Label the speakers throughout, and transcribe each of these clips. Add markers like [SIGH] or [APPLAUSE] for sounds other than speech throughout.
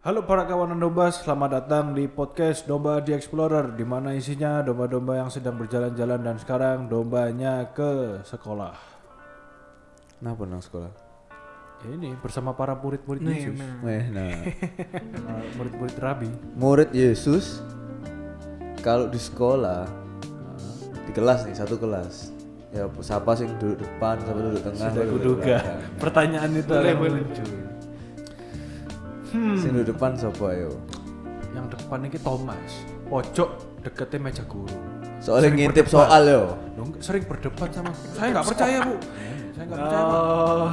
Speaker 1: Halo para kawanan domba, selamat datang di podcast Domba The Explorer di mana isinya domba-domba yang sedang berjalan-jalan dan sekarang dombanya ke sekolah. Ya
Speaker 2: Kenapa nang sekolah?
Speaker 1: Ini bersama para murid-murid Yesus,
Speaker 2: Weh, nah.
Speaker 1: Para murid-murid Rabi.
Speaker 2: Murid Yesus kalau di sekolah di kelas nih satu kelas ya siapa sih yang duduk depan siapa duduk tengah
Speaker 1: Sudah
Speaker 2: siapa duduk
Speaker 1: kuduga.
Speaker 2: belakang?
Speaker 1: Pertanyaan itu
Speaker 3: Boleh,
Speaker 1: yang
Speaker 3: boleh.
Speaker 1: lucu.
Speaker 2: Hmm. Sing duduk depan siapa ayo
Speaker 1: Yang depan ini Thomas, pojok deketnya meja guru.
Speaker 2: soalnya ngintip soal yo
Speaker 1: Loh, nggak- Sering berdebat sama saya nggak percaya bu, saya nggak percaya bu.
Speaker 3: Oh,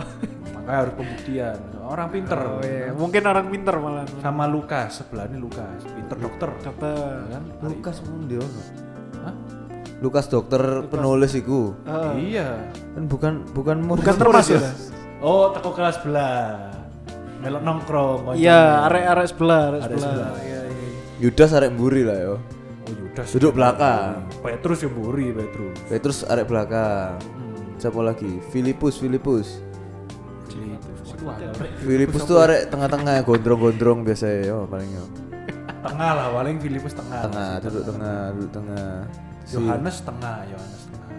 Speaker 1: Makanya harus pembuktian. Orang pinter.
Speaker 3: oh iya. mungkin orang pinter malah
Speaker 1: Sama Lukas, sebelahnya Lukas, pinter dokter.
Speaker 3: dokter.
Speaker 1: Kan?
Speaker 2: Lukas pun dia ono.
Speaker 1: Hah?
Speaker 2: Lukas dokter penulis iku
Speaker 3: Heeh.
Speaker 1: Iya.
Speaker 2: kan bukan bukan murid
Speaker 3: Bukan termasuk. ya?
Speaker 1: Oh, teko kelas belah. Melok nongkrong. konco.
Speaker 3: Iya, arek-arek sebelah, arek
Speaker 1: Arek
Speaker 3: sebelah.
Speaker 1: sebelah.
Speaker 3: Iya, iya.
Speaker 2: Yudas arek mburi lah yo
Speaker 1: Oh, Yudas.
Speaker 2: duduk belakang
Speaker 1: Petrus ya buri Petrus.
Speaker 2: Petrus arek belakang siapa lagi Filipus Filipus
Speaker 3: Iya,
Speaker 1: Jadi itu.
Speaker 2: Filipus tuh arek tengah-tengah gondrong-gondrong biasanya yo paling yo
Speaker 1: Tengah lah, paling Filipus tengah.
Speaker 2: tengah duduk tengah duduk tengah si
Speaker 1: Yohanes tengah, Yohanes tengah.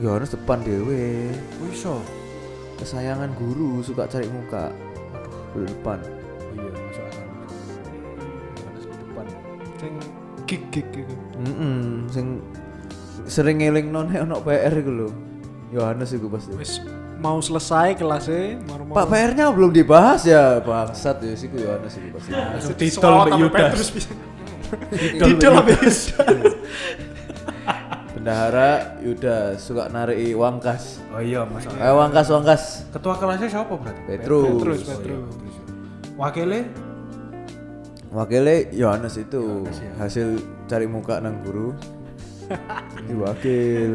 Speaker 2: Yohanes depan dewe
Speaker 1: Oh, iso.
Speaker 2: kesayangan guru suka cari muka duduk depan
Speaker 1: Oh iya, masuk akal. Yohanes di depan.
Speaker 3: Sing gig gig gitu.
Speaker 2: Mm-mm, sing sering ngeling non ono PR iku lho Yohanes iku pasti
Speaker 3: Wis mau selesai kelasnya, mau
Speaker 2: Pak PR nya belum dibahas ya bangsat ya sih Yohanes iku pasti
Speaker 1: Langsung
Speaker 3: Sedih
Speaker 1: titol
Speaker 3: sekolah
Speaker 1: Mbak
Speaker 3: tambah
Speaker 1: Yudas.
Speaker 3: Petrus bisa.
Speaker 1: Didol
Speaker 3: Didol
Speaker 1: Mbak
Speaker 3: Mbak Yudas.
Speaker 2: bendahara Yuda suka narik wangkas
Speaker 1: Oh iya, masuk akal.
Speaker 2: eh wangkas wangkas
Speaker 1: Ketua kelasnya siapa berarti?
Speaker 2: Petrus.
Speaker 3: Petrus,
Speaker 1: Oh iya,
Speaker 3: Petrus.
Speaker 1: Petrus. Wakilnya?
Speaker 2: wakilnya Yohanes itu hasil cari muka nang guru Jadi wakil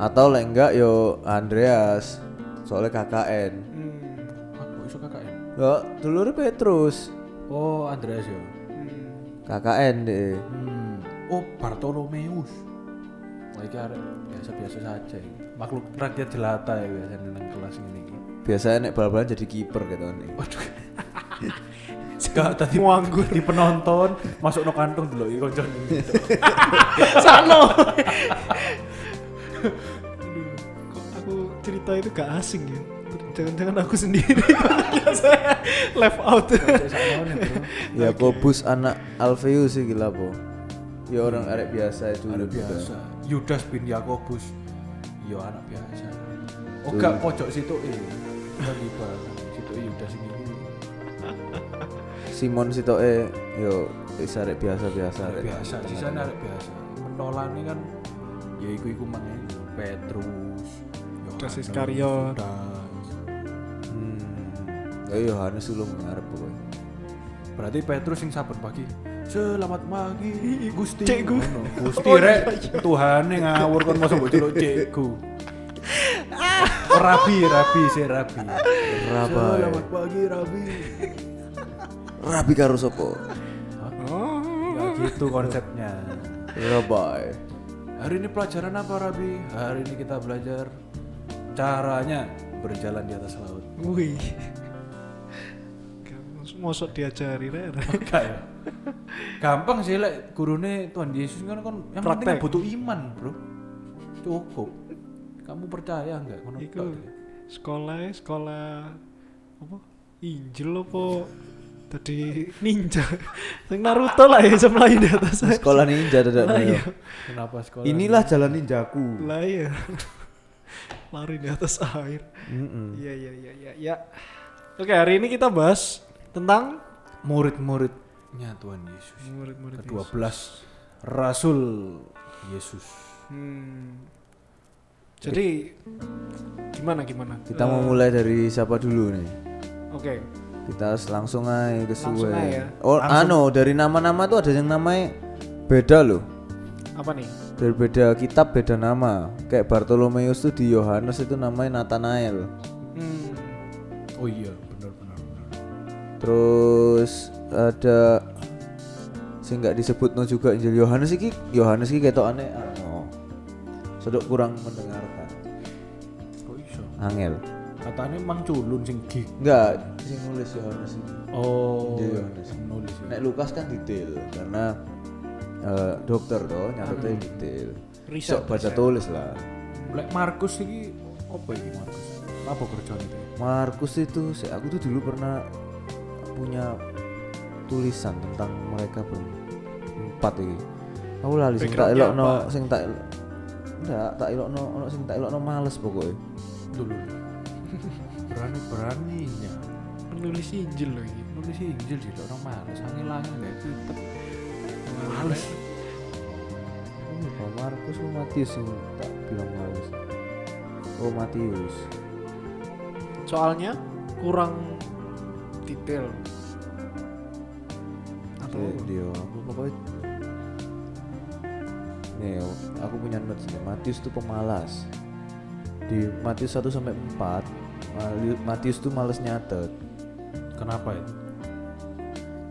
Speaker 2: atau lah enggak yo Andreas soalnya KKN
Speaker 3: Hmm.
Speaker 1: Aku iso KKN.
Speaker 2: lo dulur Petrus
Speaker 1: Oh, Andreas ya.
Speaker 2: KKN deh
Speaker 1: Hmm. Oh, Bartolomeus. Wah, iki arek biasa-biasa saja ini. Makhluk rakyat jelata ya biasanya nang kelas ini.
Speaker 2: biasanya nek bal-balan jadi kiper gitu nih
Speaker 1: Waduh. Gak tadi
Speaker 3: Nganggur.
Speaker 1: di penonton masuk no kantung dulu iki kanca ini.
Speaker 3: Sano. [LAUGHS] Aduh, kok aku cerita itu gak asing ya. Jangan-jangan aku sendiri. [LAUGHS] Saya left out.
Speaker 2: ya Kobus anak Alfeus sih gila po ya orang arek biasa itu
Speaker 1: Ada biasa. Yudas bin Yakobus. Yo anak biasa. Oh, gak pojok situ eh. Tadi bang, situ Yudas ini.
Speaker 2: Simon Sitoe yo wis arek biasa-biasa
Speaker 1: Arek
Speaker 2: arek.
Speaker 1: biasa, sisanya arek biasa. Menolane kan ya iku-iku maneh Petrus.
Speaker 3: Judas
Speaker 1: Yohanes,
Speaker 3: Iskariot.
Speaker 1: Judas.
Speaker 2: hmm. ya Yohanes dulu ngarep pokoknya
Speaker 1: Berarti Petrus yang sabar pagi. Selamat pagi, Gusti.
Speaker 3: Cikgu.
Speaker 1: Ngono. Gusti rek, Tuhan yang ngawur kon masuk mbok celuk cikgu. rabi, rabi, si rabi.
Speaker 2: Rabai.
Speaker 1: Selamat pagi, rabi.
Speaker 2: Rabi karo sapa?
Speaker 3: Oh.
Speaker 1: Ya gitu konsepnya.
Speaker 2: Ya, Rabai.
Speaker 1: Hari ini pelajaran apa, Rabi? Hari ini kita belajar caranya berjalan di atas laut.
Speaker 3: Wih. Kamu Mosok diajari Rer.
Speaker 1: Enggak ya? Gampang sih lek gurune Tuhan Yesus kan kan yang penting
Speaker 3: Praktek.
Speaker 1: butuh iman, Bro. Cukup. Kamu percaya enggak ya? ngono
Speaker 3: Iku
Speaker 1: tok.
Speaker 3: sekolah sekolah apa? Injil apa? Tadi ninja. Sing Naruto lah ya semlai di atas.
Speaker 2: Sekolah ninja [LAUGHS] ya. dadak
Speaker 3: Lah
Speaker 2: yo.
Speaker 3: iya.
Speaker 1: Kenapa sekolah?
Speaker 2: Oh, Inilah jalan ninjaku.
Speaker 3: Lah iya. Lari di atas air.
Speaker 2: Mm-mm.
Speaker 3: Iya iya iya iya ya. Oke, hari ini kita bahas tentang
Speaker 1: murid-muridnya Tuhan Yesus.
Speaker 3: murid-murid Yesus.
Speaker 1: Ke-12 Rasul Yesus.
Speaker 3: Hmm. Jadi gimana gimana?
Speaker 2: Kita mau mulai dari siapa dulu nih?
Speaker 3: Oke.
Speaker 2: Kita harus langsung aja ke
Speaker 3: Langsung
Speaker 2: suwe.
Speaker 3: aja ya.
Speaker 2: Oh, anu dari nama-nama tuh ada yang namanya beda loh.
Speaker 3: Apa nih?
Speaker 2: Dari beda kitab beda nama. Kayak Bartolomeus tuh di Yohanes itu namanya Nathanael.
Speaker 3: Hmm.
Speaker 1: Oh iya, benar-benar. benar.
Speaker 2: Terus ada sing nggak disebut no juga Injil Yohanes iki Yohanes iki ketok aneh sedok kurang mendengarkan
Speaker 1: Kok iso?
Speaker 2: angel
Speaker 1: Katanya Mang Culun sing gig.
Speaker 2: Enggak, sing nulis Yohanes ini.
Speaker 1: Oh,
Speaker 2: Iya, Yohanes.
Speaker 1: sing nulis. ya.
Speaker 2: Nek Lukas kan detail karena eh, dokter toh, nyatetnya detail. Sok
Speaker 3: Riset,
Speaker 2: baca tulis lah.
Speaker 1: Lek Markus iki apa iki Markus? Apa kerjaan itu?
Speaker 2: Markus itu, se- aku tuh dulu pernah punya tulisan tentang mereka berempat ini. Aku lali sing tak
Speaker 3: Backgroundnya
Speaker 2: elokno,
Speaker 3: apa?
Speaker 2: sing tak elok- enggak, tak elokno, ono sing tak elokno males pokoknya.
Speaker 1: Dulu. Berani beraninya
Speaker 3: penulis Injil loh ini
Speaker 1: nulis Injil sih orang males angin langit kayak gitu.
Speaker 3: males
Speaker 2: Oh, Pak Markus oh Matius sing tak bilang males. Oh Matius.
Speaker 3: soalnya kurang detail atau
Speaker 2: Dia, Iya, dia aku pokoknya Nih, aku punya notes nih. Matius tuh pemalas. Di Matius 1 sampai 4, Mali- Matius tuh males nyatet.
Speaker 1: Kenapa ya? itu?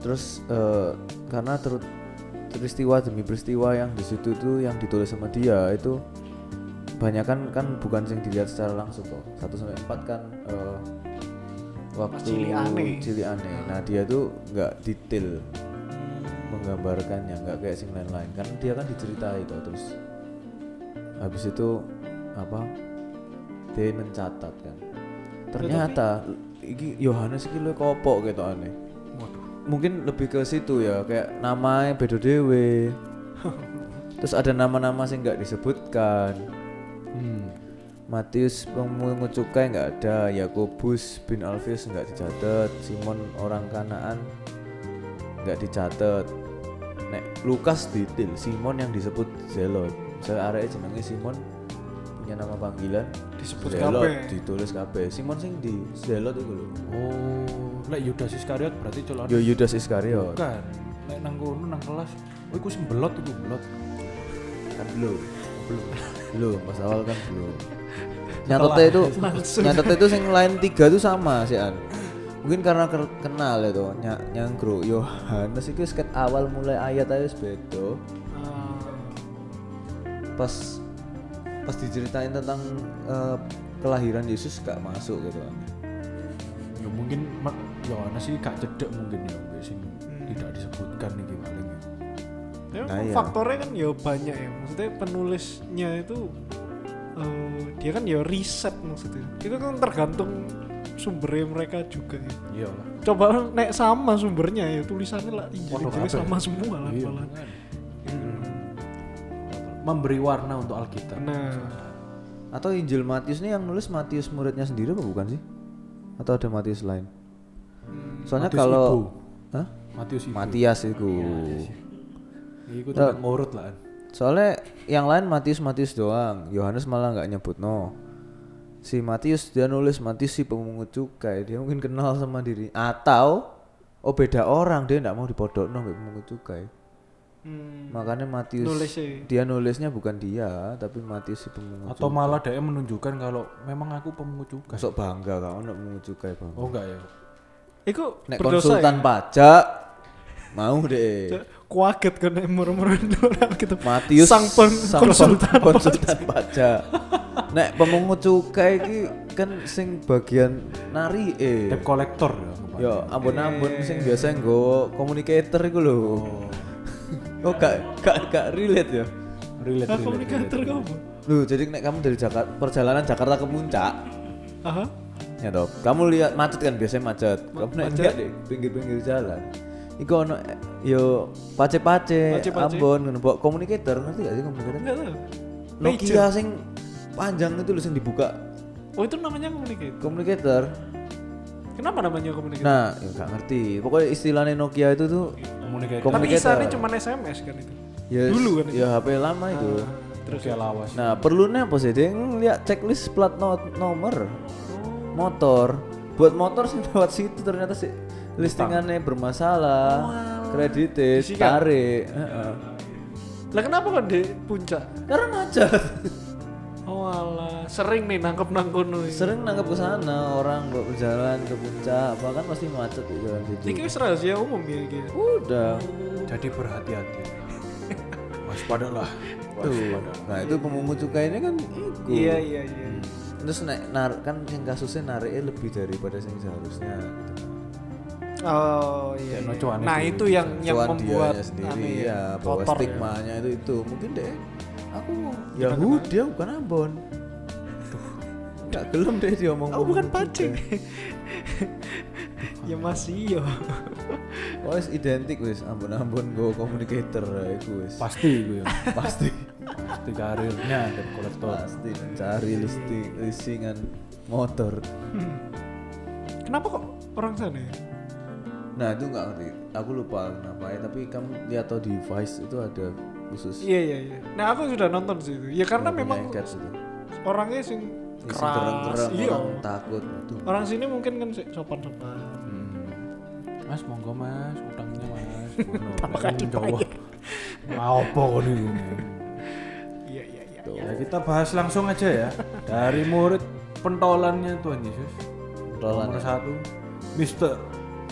Speaker 2: Terus eh, karena ter- peristiwa demi peristiwa yang di situ tuh yang ditulis sama dia itu banyak kan kan bukan yang dilihat secara langsung toh. 1 sampai 4 kan eh, waktu
Speaker 3: cilikane.
Speaker 2: cilikane. Nah, dia tuh nggak detail menggambarkannya, nggak kayak sing lain-lain. Kan dia kan diceritain toh terus habis itu apa? Dia mencatat kan. Ternyata iki Yohanes iki luwih kopok gitu aneh
Speaker 3: waduh
Speaker 2: mungkin lebih ke situ ya kayak namanya bedo
Speaker 3: [LAUGHS]
Speaker 2: dewe terus ada nama-nama sih nggak disebutkan
Speaker 1: Hmm.
Speaker 2: Matius pemungut cukai nggak ada Yakobus bin Alfius nggak dicatat Simon orang Kanaan nggak dicatat nek Lukas detail Simon yang disebut Zelot misalnya arahnya jenenge Simon punya nama panggilan
Speaker 3: disebut
Speaker 2: Zelot
Speaker 3: kabeh
Speaker 2: ditulis kabeh Simon sing di Zelot itu loh
Speaker 1: Oh, lek Yudas Iskariot berarti colok
Speaker 2: Yo Yudas Iskariot
Speaker 1: bukan. Lek nang kono nang kelas, oh iku sembelot iku belot.
Speaker 2: kan belum belum belum pas awal kan belum nyatetnya itu nyatetnya itu yang lain tiga tuh sama sih an mungkin karena ker- kenal ya tuh ny nyangkru Yohanes itu sket awal mulai ayat aja sebedo
Speaker 3: Eh,
Speaker 2: pas pas diceritain tentang eh, kelahiran Yesus gak masuk gitu kan
Speaker 1: Ya mungkin Ma- Yohanes sih gak cedek mungkin ya mbak, sing tidak disebutkan iki paling. ya.
Speaker 3: ya,
Speaker 2: Nah, iya.
Speaker 3: faktornya kan ya banyak ya maksudnya penulisnya itu eh, dia kan ya riset maksudnya itu kan tergantung sumbernya mereka juga ya.
Speaker 1: Iya lah.
Speaker 3: coba nek sama sumbernya ya tulisannya lah injil
Speaker 1: Waduh,
Speaker 3: injilnya
Speaker 1: apa ya?
Speaker 3: sama semua lah
Speaker 1: Iya. kan?
Speaker 3: malah.
Speaker 1: Memberi warna untuk Alkitab.
Speaker 3: nah
Speaker 2: atau Injil Matius nih yang nulis Matius muridnya sendiri apa bukan sih atau ada Matius lain soalnya
Speaker 1: Hmm, Matius
Speaker 2: kalau
Speaker 1: Ibu.
Speaker 2: Hah?
Speaker 1: Matius ibu. Iya,
Speaker 2: Matias itu
Speaker 1: Iku tak ngurut lah.
Speaker 2: Soalnya yang lain Matius Matius doang, Yohanes malah nggak nyebut no. Si Matius dia nulis Matius si pemungut cukai, dia mungkin kenal sama diri atau oh beda orang dia nggak mau dipodok no pemungut cukai.
Speaker 3: hmm,
Speaker 2: Makanya Matius
Speaker 3: nulisnya
Speaker 2: dia nulisnya bukan dia tapi Matius si pemungut
Speaker 1: Atau malah dia menunjukkan kalau memang aku pemungut cukai.
Speaker 2: cukai. Sok bangga kamu nak pemungut cukai bang.
Speaker 1: Oh enggak ya.
Speaker 3: itu
Speaker 2: Nek
Speaker 3: berdosa ya?
Speaker 2: konsultan pajak mau deh.
Speaker 3: kuaget kan nek murmur [LAUGHS] orang gitu
Speaker 2: Matius
Speaker 3: sang peng konsultan
Speaker 2: konsultan pajak. Nek pemungut cukai iki kan sing bagian nari eh.
Speaker 1: Debt collector ya. kemarin.
Speaker 2: Yo, ampun-ampun sing biasa nggo communicator iku lho. [LAUGHS] Oh, gak gak gak relate ya.
Speaker 1: Relate
Speaker 3: Nah,
Speaker 1: relate.
Speaker 3: komunikator
Speaker 2: Iya,
Speaker 3: kamu
Speaker 2: Loh, jadi nek kamu dari Jakarta perjalanan Jakarta ke puncak,
Speaker 3: aha
Speaker 2: ya toh. Kamu lihat macet kan biasanya macet. Kamu nek lihat di pinggir-pinggir jalan. Iku ono eh, yo pace-pace,
Speaker 3: Pace-pace.
Speaker 2: Ambon ngono, bawa communicator ngerti gak sih communicator?
Speaker 3: enggak tahu
Speaker 2: Nokia sing panjang itu loh sing dibuka
Speaker 3: oh itu namanya komunikator
Speaker 2: communicator.
Speaker 3: Iya. kenapa namanya komunikator
Speaker 2: Nah, ya gak ngerti. Pokoknya istilahnya Nokia itu tuh
Speaker 1: Komunikator.
Speaker 3: Iya, tapi
Speaker 2: communicator.
Speaker 3: isinya cuma sms kan itu Ah.
Speaker 2: ya,
Speaker 3: dulu kan
Speaker 2: ya HP lama itu.
Speaker 1: Terus ya lawas.
Speaker 2: Nah, perlunya apa sih? Dia lihat checklist plat no-
Speaker 3: Oh.
Speaker 2: nomor motor. Buat motor sih [LAUGHS] lewat situ ternyata sih listingannya bermasalah, kredit, tarik. Heeh.
Speaker 3: lah kenapa kok di puncak
Speaker 2: Karena macet.
Speaker 3: oh alah sering nih nangkep nangkono ini
Speaker 2: Sering nangkep ke sana orang buat berjalan ke puncak, bahkan pasti macet di jalan situ.
Speaker 3: ini wis rahasia umum ya gitu
Speaker 2: Udah.
Speaker 1: Jadi berhati-hati. Waspadalah.
Speaker 2: Tuh. Nah, itu pemungut cukai ini kan itu.
Speaker 3: iya iya iya
Speaker 2: terus nek nar- kan yang kasusnya nariknya lebih daripada yang seharusnya gitu.
Speaker 3: Oh iya.
Speaker 1: Dan
Speaker 3: iya.
Speaker 1: cuannya
Speaker 3: Nah
Speaker 1: sendiri
Speaker 3: itu
Speaker 1: bisa.
Speaker 3: yang yang
Speaker 2: Cuan
Speaker 3: membuat
Speaker 2: dianya sendiri
Speaker 3: anu
Speaker 2: ya bahwa
Speaker 3: kotor ya.
Speaker 2: stigmanya itu itu mungkin deh aku Yahudi aku bukan Ambon Gak gelem deh gitu. dia ngomong
Speaker 3: Aku bukan pancing. [LAUGHS] ya masih yo.
Speaker 2: Oh is identik wis Ambon-Ambon gue communicator ya iku wis
Speaker 1: pasti gue
Speaker 2: pasti
Speaker 1: pasti karirnya dan kolektor
Speaker 2: pasti cari listing lisingan motor
Speaker 3: Hmm. Kenapa kok orang sana ya?
Speaker 2: Nah itu nggak ngerti, aku lupa kenapa ya. Tapi kamu lihat atau di Vice itu ada khusus.
Speaker 3: Iya iya iya. Nah aku sudah nonton sih itu. Ya karena
Speaker 2: yang
Speaker 3: memang
Speaker 2: punya cats itu.
Speaker 3: orangnya sing
Speaker 2: Isi iya.
Speaker 3: keras.
Speaker 2: gereng-gereng oh.
Speaker 3: Iya.
Speaker 2: orang takut. Aduh.
Speaker 3: Orang sini mungkin kan sih sopan-sopan.
Speaker 1: Hmm. mas monggo mas utangnya mas apa kaki Jawa mau apa kau nih
Speaker 3: Iya iya iya.
Speaker 2: Tuh.
Speaker 1: ya kita bahas langsung aja ya dari murid pentolannya Tuhan Yesus
Speaker 2: Pentolan
Speaker 1: nomor
Speaker 2: ya.
Speaker 1: satu Mister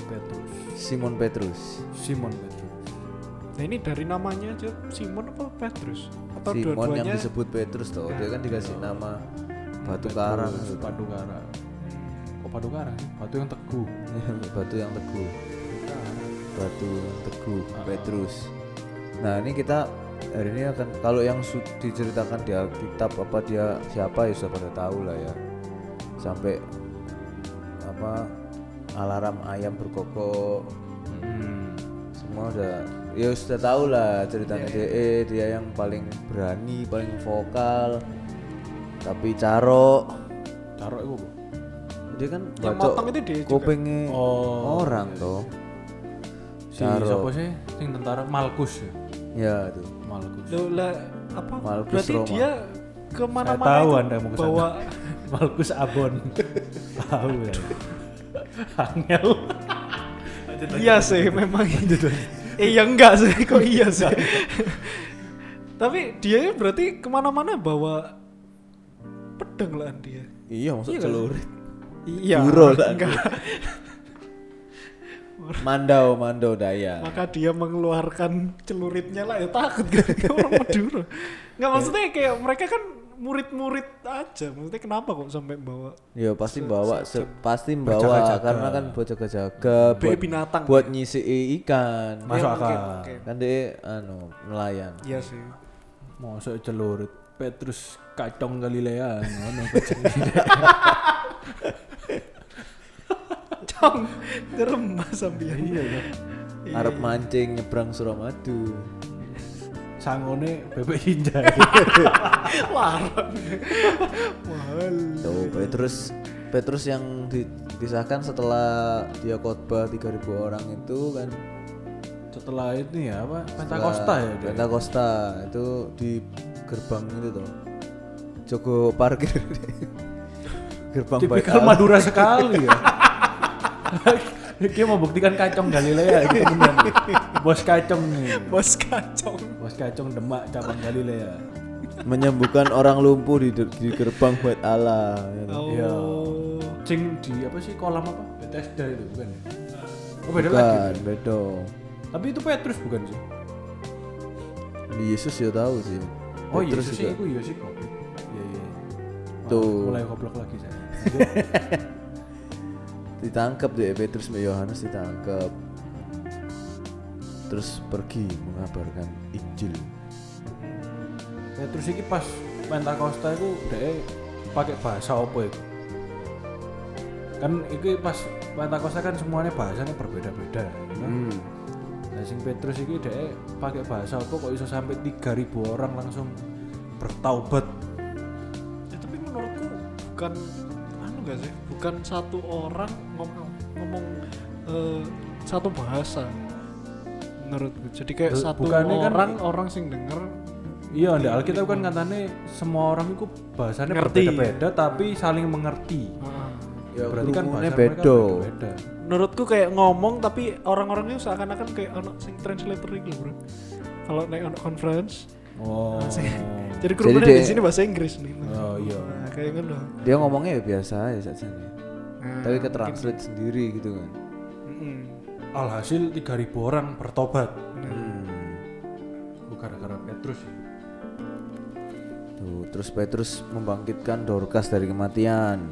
Speaker 1: Petrus
Speaker 2: Simon Petrus.
Speaker 1: Simon Petrus
Speaker 3: Nah ini dari namanya aja Simon apa Petrus atau
Speaker 2: Simon yang
Speaker 3: dua-duanya
Speaker 2: disebut Petrus tuh, dia kan dikasih nama batu karang,
Speaker 1: Terus Batu Karang kok Batu Karang sih? batu yang teguh
Speaker 2: [LAUGHS] batu yang teguh, batu yang teguh, Petrus. Nah ini kita hari ini akan kalau yang su- diceritakan di Alkitab apa dia siapa ya sudah pada tahu lah ya. Sampai apa alarm ayam berkokok semua udah ya sudah tahu lah ceritanya DE dia yang paling berani paling vokal tapi caro
Speaker 1: taruh itu apa?
Speaker 2: dia kan
Speaker 3: Yang
Speaker 2: bacok
Speaker 3: motong itu dia juga.
Speaker 2: kupingnya
Speaker 1: Oh,
Speaker 2: orang toh
Speaker 1: si siapa sih sing tentara Malkus ya
Speaker 2: ya itu
Speaker 1: Malkus
Speaker 3: Loh, lah, apa?
Speaker 2: Malkus
Speaker 3: Berarti
Speaker 2: Roma.
Speaker 3: dia kemana-mana
Speaker 1: Saya tahu
Speaker 3: itu
Speaker 1: Anda mau ke sana.
Speaker 3: bawa
Speaker 1: [LAUGHS] Malkus Abon tahu ya Angel
Speaker 3: iya sih
Speaker 1: [LAUGHS]
Speaker 3: memang eh ya enggak sih kok iya sih tapi dia berarti kemana-mana bawa pedang lah dia
Speaker 2: iya maksud
Speaker 3: Iya kan?
Speaker 2: celurit
Speaker 3: iya
Speaker 2: Guru lah.
Speaker 3: enggak
Speaker 2: mandau mandau daya
Speaker 3: maka dia mengeluarkan celuritnya lah ya takut [LAUGHS] kan orang Madura enggak maksudnya kayak mereka kan murid-murid aja maksudnya kenapa kok sampai bawa
Speaker 2: ya pasti bawa se- pasti bawa
Speaker 1: Berjaga-jaga.
Speaker 2: karena kan buat jaga-jaga
Speaker 3: Bayi
Speaker 2: buat
Speaker 3: binatang
Speaker 2: buat nyisi ikan
Speaker 1: Masuk
Speaker 3: Ya, mungkin,
Speaker 1: akal.
Speaker 3: oke.
Speaker 2: kan dia anu nelayan
Speaker 3: iya sih
Speaker 1: mosok celurit Petrus kacong Galilea ngono kacang.
Speaker 3: Cong, jerem mas sambil. Iya.
Speaker 2: Arab mancing nyebrang Suramadu
Speaker 1: [LAUGHS] sangone bebek hinjai
Speaker 3: Larang. [LAUGHS] Mahal.
Speaker 2: Tuh, Petrus Petrus yang di- disahkan setelah dia khotbah 3000 orang itu kan
Speaker 1: setelah ini ya apa Pentakosta ya dia?
Speaker 2: Pentakosta itu di gerbang itu tuh. Jogo parkir. [LAUGHS] gerbang
Speaker 1: tipikal
Speaker 2: Baikal.
Speaker 1: Madura sekali ya Dia mau buktikan kacong Galilea gitu beneran. Bos kacong nih.
Speaker 3: Bos kacong.
Speaker 1: Bos kacong Demak cabang Galilea.
Speaker 2: menyembuhkan orang lumpuh di, di gerbang Bait Allah. ya kan.
Speaker 3: Oh.
Speaker 1: Iya. Cing di apa sih kolam apa? Bethesda itu bukan ya? Oh beda lagi.
Speaker 2: Bukan, beda.
Speaker 1: Tapi itu Petrus bukan sih?
Speaker 2: Yesus ya tahu sih.
Speaker 1: Oh iya
Speaker 2: Petrus
Speaker 1: sih,
Speaker 2: juga.
Speaker 1: itu iya sih goblok. Iya iya. Wah,
Speaker 2: Tuh.
Speaker 1: Mulai goblok lagi saya.
Speaker 2: ditangkap deh Petrus sama Yohanes ditangkap terus pergi mengabarkan Injil
Speaker 1: Petrus ini Ya, pas Pentakosta itu dia pakai bahasa apa itu? Kan itu pas Pentakosta kan semuanya bahasanya berbeda-beda. ya kan?
Speaker 2: hmm.
Speaker 1: Nah, sing Petrus iki dhek pakai bahasa apa kok iso sampai 3000 orang langsung bertaubat.
Speaker 3: Ya, tapi menurutku bukan anu gak sih? Bukan satu orang ngomong ngomong eh, satu bahasa. Menurutku. Jadi
Speaker 1: Bu-
Speaker 3: kayak satu
Speaker 1: bukannya kan-
Speaker 3: orang orang sing denger
Speaker 1: Iya, ndak Alkitab kan katanya semua orang itu bahasanya
Speaker 3: Ngerti.
Speaker 1: berbeda-beda tapi saling mengerti.
Speaker 3: Heeh.
Speaker 2: ya
Speaker 1: Berarti kan
Speaker 2: kerumunan
Speaker 1: bahasa mereka
Speaker 2: bedo
Speaker 1: beda.
Speaker 3: nah. menurutku kayak ngomong tapi orang-orangnya seakan-akan kayak anak sing translator gitu bro kalau naik anak conference
Speaker 1: Oh.
Speaker 3: jadi kerumunnya
Speaker 2: dia-
Speaker 3: di sini bahasa Inggris nih
Speaker 1: Oh, iya.
Speaker 3: Nah, kayak gitu loh
Speaker 2: dia ngomongnya ya biasa ya saja
Speaker 1: Hmm,
Speaker 2: tapi ke
Speaker 3: Nah,
Speaker 2: translate sendiri gitu kan
Speaker 3: mm-mm.
Speaker 1: Alhasil 3000 orang bertobat.
Speaker 2: Hmm.
Speaker 3: Nah,
Speaker 1: Bukan gara-gara Petrus. ya.
Speaker 2: nah Tuh, terus Petrus membangkitkan Dorcas dari kematian,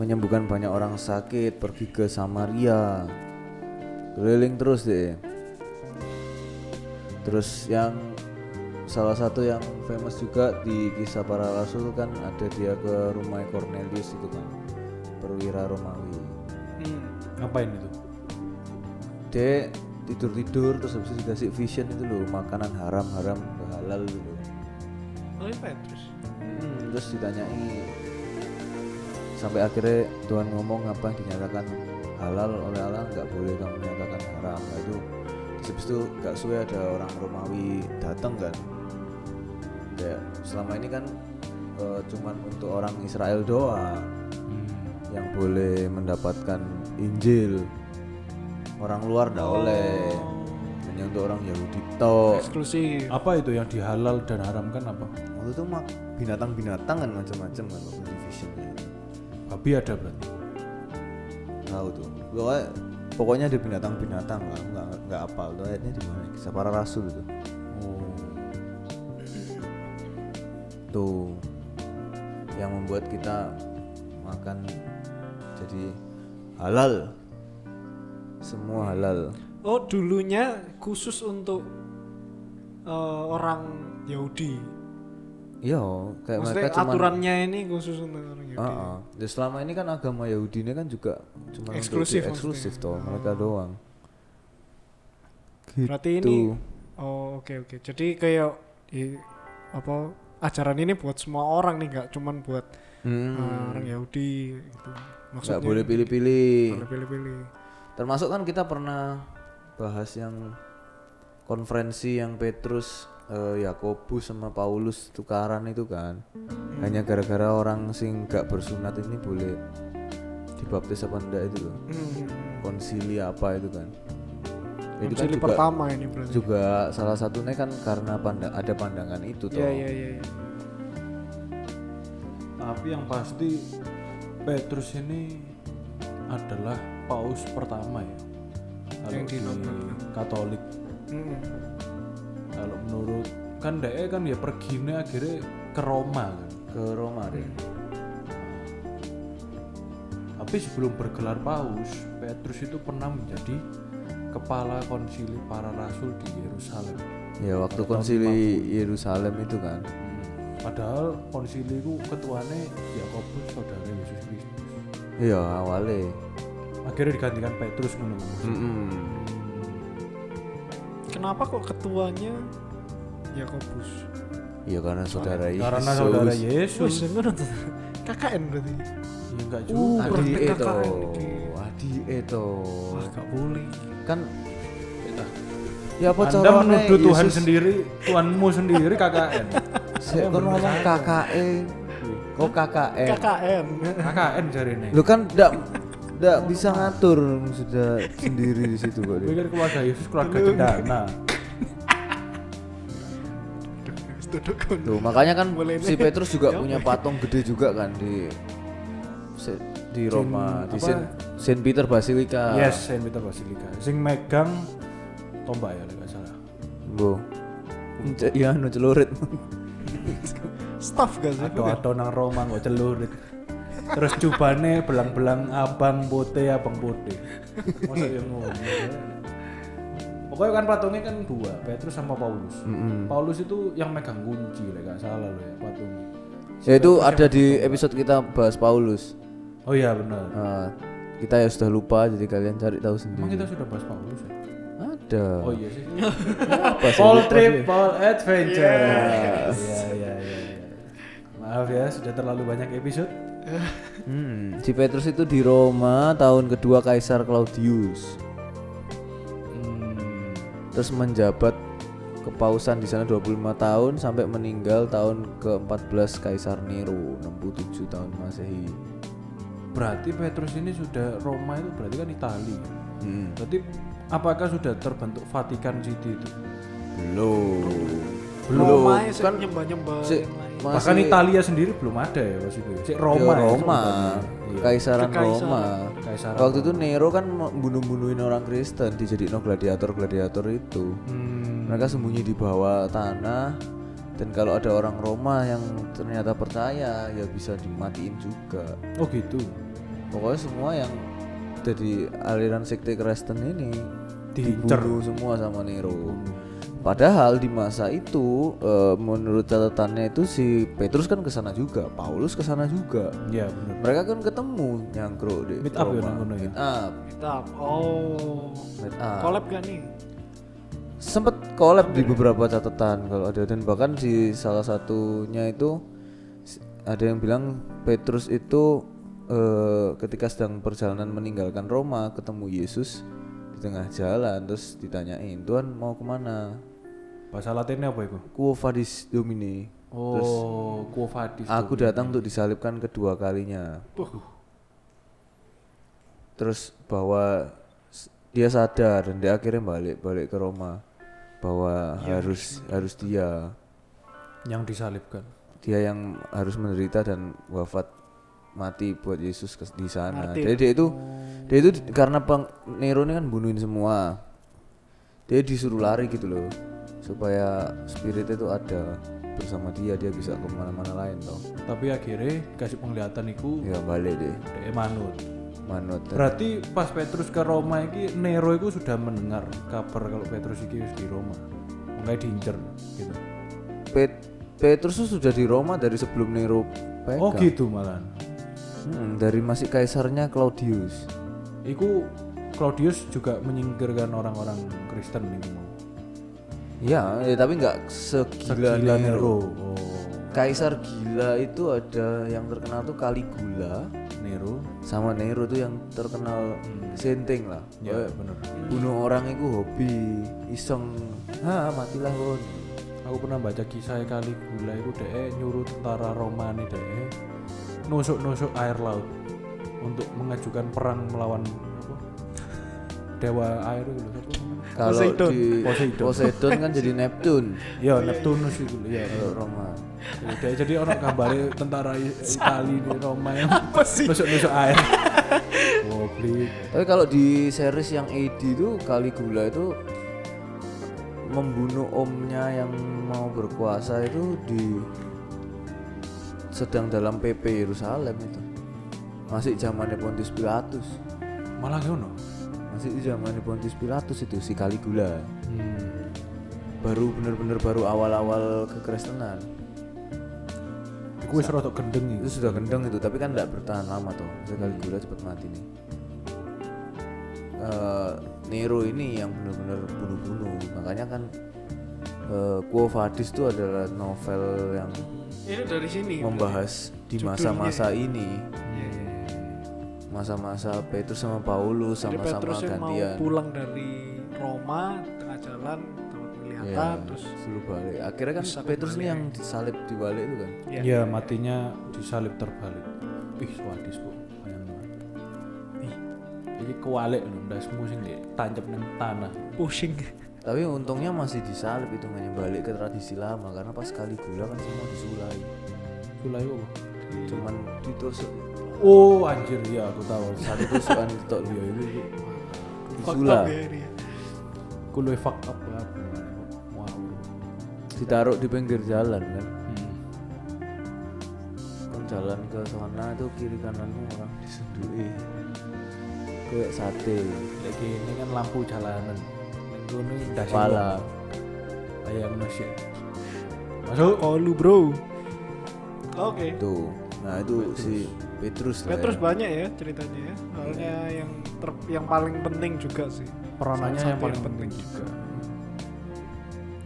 Speaker 2: menyembuhkan banyak orang sakit, pergi ke Samaria, keliling terus deh. Terus yang salah satu yang famous juga di kisah para rasul kan ada dia ke rumah Cornelius itu kan, perwira Romawi.
Speaker 3: Hmm.
Speaker 1: Ngapain itu?
Speaker 2: dia tidur tidur terus habis itu dikasih vision itu loh makanan haram haram nggak halal gitu loh
Speaker 3: Oh, iya, Petrus.
Speaker 2: Hmm, terus ditanyai sampai akhirnya Tuhan ngomong apa yang dinyatakan halal oleh Allah nggak boleh kamu nyatakan haram Nah, itu terus habis itu nggak suwe ada orang Romawi datang kan kayak selama ini kan eh, cuman untuk orang Israel doang yang boleh mendapatkan Injil orang luar ndak oleh hanya untuk orang Yahudi
Speaker 1: Oh.
Speaker 2: tok
Speaker 3: Eksklusif.
Speaker 1: Apa itu yang dihalal dan haramkan apa?
Speaker 2: waktu itu mak binatang-binatang kan macam-macam kan waktu di visionnya itu.
Speaker 1: Babi ada berarti.
Speaker 2: tahu tuh pokoknya pokoknya ada binatang-binatang lah nggak nggak apal tuh ayatnya di mana kisah para rasul itu
Speaker 1: Oh.
Speaker 2: tuh yang membuat kita makan jadi halal semua halal
Speaker 3: Oh, dulunya khusus untuk eh, orang Yahudi.
Speaker 2: iya kayak
Speaker 3: Maksudnya
Speaker 2: mereka cuman
Speaker 3: aturannya ini khusus untuk orang Yahudi.
Speaker 2: Heeh. Ya, selama ini kan agama Yahudi ini kan juga cuma untuk
Speaker 3: Eksklusif
Speaker 2: di- eksklusif toh mereka doang. Gitu.
Speaker 3: Berarti ini Oh, oke oke. Jadi kayak i- apa ajaran ini buat semua orang nih, nggak cuman buat eh, orang Yahudi gitu.
Speaker 2: Hmm. nggak
Speaker 3: Maksudnya
Speaker 2: boleh pilih-pilih.
Speaker 3: nggak boleh pilih-pilih.
Speaker 2: Termasuk kan kita pernah bahas yang konferensi yang Petrus, eh, Yakobus sama Paulus tukaran itu kan.
Speaker 3: Hmm.
Speaker 2: Hanya gara-gara orang sing gak bersunat ini boleh dibaptis apa enggak itu loh.
Speaker 3: Hmm.
Speaker 2: Konsili apa itu kan. Itu kan
Speaker 3: Konsili
Speaker 2: juga
Speaker 3: pertama ini berarti.
Speaker 2: juga salah satunya kan karena panda- ada pandangan itu toh.
Speaker 3: Iya iya iya. iya.
Speaker 1: Tapi yang pasti Petrus ini adalah paus pertama ya. Kalau
Speaker 3: Yang
Speaker 1: di Katolik
Speaker 3: Hmm.
Speaker 1: kalau menurut kan dia kan ya perginya akhirnya ke Roma kan.
Speaker 2: Ke Roma deh.
Speaker 3: Hmm.
Speaker 1: Tapi sebelum bergelar paus, Petrus itu pernah menjadi kepala konsili para rasul di Yerusalem.
Speaker 2: Ya waktu konsili Yerusalem itu kan.
Speaker 1: Padahal konsili itu ketuanya Yakobus saudara Yesus Kristus.
Speaker 2: Iya awalnya.
Speaker 1: Akhirnya digantikan Petrus menurut
Speaker 2: Mm-mm.
Speaker 3: Hmm. Kenapa kok ketuanya Yakobus?
Speaker 2: Iya karena saudara Yesus.
Speaker 1: Karena saudara Yesus.
Speaker 3: Wis, ngono tuh. KKN berarti.
Speaker 1: Ya enggak
Speaker 3: Uh,
Speaker 1: juga.
Speaker 2: Adi
Speaker 3: Perbedakan
Speaker 2: Eto.
Speaker 3: ini.
Speaker 2: Adi Eto.
Speaker 3: Wah, gak boleh.
Speaker 2: Kan
Speaker 1: Kita.
Speaker 2: ya apa
Speaker 1: Nah, Anda
Speaker 2: caranya
Speaker 1: menuduh Tuhan
Speaker 2: Yesus-
Speaker 1: sendiri, Tuhanmu sendiri KKN.
Speaker 2: Sik, kon ngomong KKE. Kok KKN?
Speaker 3: KKN.
Speaker 1: KKN jari ini.
Speaker 2: Lu kan ndak ndak bisa ngatur sudah sendiri di situ kok. dia.
Speaker 1: Gue [LAUGHS] kan keluarga Yesus, keluarga cendana.
Speaker 3: Stodokon.
Speaker 2: Tuh, makanya kan
Speaker 3: Mulai
Speaker 2: si Petrus
Speaker 1: Ya,
Speaker 2: juga punya patung gede juga kan di se- di Roma, di Saint, Saint Peter Basilica.
Speaker 1: Yes, Saint Peter Basilica. Sing megang tombak ya, kalau nggak salah.
Speaker 2: Bu. Ya anu
Speaker 1: [LAUGHS]
Speaker 2: celurit.
Speaker 3: Staff gak sih?
Speaker 1: Atau atau nang Roma nggak celurit. Terus cubane belang-belang abang putih abang putih. Masa yang ngono. Pokoknya kan patungnya kan dua, Petrus sama Paulus. Paulus itu yang megang kunci, lah, nggak salah loh ya patungnya.
Speaker 2: ya itu ada di episode kita bahas Paulus.
Speaker 1: Oh iya benar.
Speaker 2: Eh, kita ya sudah lupa jadi kalian cari tahu
Speaker 1: Emang
Speaker 2: sendiri.
Speaker 1: kita sudah bahas Paulus ya?
Speaker 2: Ada.
Speaker 1: gitu. Oh iya sih.
Speaker 2: [LAUGHS] Apa sih?
Speaker 1: Paul Trip, Paul Adventure. Iya iya iya. iya. Maaf ya, sudah terlalu banyak episode.
Speaker 2: Hmm, si Petrus itu di Roma tahun kedua Kaisar Claudius.
Speaker 1: Hmm,
Speaker 2: terus menjabat kepausan di sana 25 tahun sampai meninggal tahun ke-14 Kaisar Nero 67 tahun Masehi.
Speaker 1: berarti Petrus ini sudah Roma itu berarti kan Itali.
Speaker 2: Hmm.
Speaker 1: Berarti apakah sudah terbentuk Vatikan City itu?
Speaker 2: Belum.
Speaker 3: Roma ya, kan nyembah-nyembah
Speaker 2: Si-
Speaker 3: yang lain.
Speaker 2: Masih
Speaker 1: Bahkan Italia sendiri belum ada ya waktu itu. Cek Roma.
Speaker 2: Roma,
Speaker 1: ya,
Speaker 2: Roma.
Speaker 1: Iya.
Speaker 2: Kekaisaran
Speaker 3: Kekaisaran.
Speaker 2: Roma.
Speaker 1: Kekaisaran
Speaker 2: Waktu itu Nero kan bunuh-bunuhin orang Kristen dijadiin gladiator-gladiator itu.
Speaker 1: Hmm,
Speaker 2: Mereka sembunyi di bawah tanah dan kalau ada orang Roma yang ternyata percaya ya bisa dimatiin juga
Speaker 1: Oh gitu.
Speaker 2: pokoknya semua yang jadi aliran sekte Kristen ini
Speaker 1: Diincer. Hmm.
Speaker 2: dibunuh semua sama Nero padahal di masa itu eh, menurut catatannya itu si Petrus kan kesana juga Paulus kesana juga
Speaker 1: Ya benar.
Speaker 2: mereka kan ketemu nyangkruk di
Speaker 1: Meet up ya
Speaker 2: Roma.
Speaker 1: nang kono ya?
Speaker 2: meet up
Speaker 3: Kitab. Oh.
Speaker 2: meet up
Speaker 3: Collab gak nih?
Speaker 2: sempet collab di beberapa catatan kalau ada dan bahkan di salah satunya itu s- ada yang bilang Petrus itu eh, ketika sedang perjalanan meninggalkan Roma ketemu Yesus di tengah jalan terus ditanyain Tuhan mau kemana
Speaker 1: Bahasa Latinnya apa itu?
Speaker 2: Quo Vadis Domine
Speaker 1: Oh, quo vadis.
Speaker 2: aku datang untuk disalibkan kedua kalinya terus bahwa s- dia sadar dan dia akhirnya balik balik ke Roma bahwa harus harus dia
Speaker 1: yang disalibkan.
Speaker 2: dia yang harus menderita dan wafat mati buat Yesus kes- di sana. Jadi dia itu dia itu di- karena peng, Nero ini kan bunuhin semua. Dia disuruh lari gitu loh supaya spiritnya itu ada bersama dia dia bisa kemana-mana lain toh.
Speaker 1: Tapi akhirnya kasih penglihatan itu
Speaker 2: Ya balik deh
Speaker 1: dia manut.
Speaker 2: manut.
Speaker 1: Berarti pas Petrus ke Roma ini Nero itu sudah mendengar kabar kalau Petrus ini di Roma. Makanya diincer gitu.
Speaker 2: Pet- Petrus tuh sudah di Roma dari sebelum Nero pegang.
Speaker 1: Oh gitu malahan.
Speaker 2: Hmm, dari masih kaisarnya Claudius.
Speaker 1: Iku Claudius juga menyingkirkan orang-orang Kristen nih mau.
Speaker 2: Ya, ya, tapi nggak segila
Speaker 1: Gila
Speaker 2: Nero.
Speaker 1: Nero. Oh,
Speaker 2: Kaisar gila itu ada yang terkenal tuh Caligula
Speaker 1: Nero.
Speaker 2: sama Nero tuh yang terkenal hmm, senteng lah.
Speaker 1: Ya bener.
Speaker 2: Bunuh orang itu hobi, iseng, ha matilah kon.
Speaker 1: Aku pernah baca kisah kali gula itu deh nyuruh tentara Roma nih deh nusuk-nusuk air laut untuk mengajukan perang melawan apa? Dewa air itu loh. apa namanya?
Speaker 2: Kalau
Speaker 3: Poseidon.
Speaker 2: di
Speaker 1: Poseidon.
Speaker 2: Poseidon kan
Speaker 1: [LAUGHS]
Speaker 2: jadi Neptune
Speaker 1: Ya Neptunus itu loh, ya.
Speaker 2: kalau Roma.
Speaker 1: Udah jadi orang gambarnya tentara I- Itali di Roma yang
Speaker 3: Apa sih?
Speaker 1: nusuk-nusuk air. Goblin.
Speaker 2: Tapi kalau di series yang AD itu Caligula itu membunuh omnya yang mau berkuasa itu di sedang dalam PP Yerusalem itu masih zamannya Pontius Pilatus
Speaker 1: Malah ngono.
Speaker 2: masih di zamannya Pontius Pilatus itu si Caligula
Speaker 1: Hmm.
Speaker 2: baru bener-bener baru awal-awal kekristenan
Speaker 1: Iku wis rada gendeng
Speaker 2: itu
Speaker 1: itu.
Speaker 2: sudah gendeng itu tapi kan tidak bertahan lama tuh si Caligula cepat mati nih Eh, Nero ini yang bener-bener bunuh-bunuh makanya kan eh, Quo Vadis itu adalah novel yang
Speaker 3: Ini dari sini.
Speaker 2: membahas di masa-masa ini masa-masa Petrus sama Paulus
Speaker 3: Jadi
Speaker 2: sama-sama
Speaker 3: Petrus yang mau
Speaker 2: gantian
Speaker 3: pulang dari Roma tengah jalan dapat penglihatan
Speaker 2: Ya,
Speaker 3: terus
Speaker 2: suruh balik. Akhirnya kan
Speaker 3: Terus
Speaker 2: Petrus ini yang disalib di balik itu kan.
Speaker 3: ya,
Speaker 1: Ya matinya disalib terbalik. Ih, swadis bu. Bayangno. Ih, Jadi kewalik lho, ndasmu sing ditancep nang tanah.
Speaker 3: pusing.
Speaker 2: Tapi untungnya masih disalib itu hanya balik ke tradisi lama karena pas kali gula kan semua disulai.
Speaker 1: Sulai apa?
Speaker 2: Cuman ditusuk,
Speaker 1: Oh, anjir ya aku tahu.
Speaker 2: satu tusukan ditok
Speaker 1: Ya itu itu.
Speaker 2: disulai.
Speaker 3: ya ini. ya.
Speaker 1: Aku luwe fuck up banget. Wow.
Speaker 2: Ditaruh di pinggir jalan kan.
Speaker 1: Hmm.
Speaker 2: Kan jalan ke sana itu kiri kananmu orang disedui. Kayak sate.
Speaker 1: Lagi ini kan lampu jalanan. Ning kono ndase
Speaker 2: Pala.
Speaker 1: Ayam nasi. Masuk.
Speaker 3: Oh lu bro. Oke.
Speaker 2: Tuh. Nah itu si Petrus lah.
Speaker 3: Petrus banyak ya ceritanya ya. Soalnya yang ter- yang paling penting juga sih.
Speaker 1: peranannya
Speaker 3: Salah
Speaker 1: yang
Speaker 3: satu
Speaker 1: paling penting juga.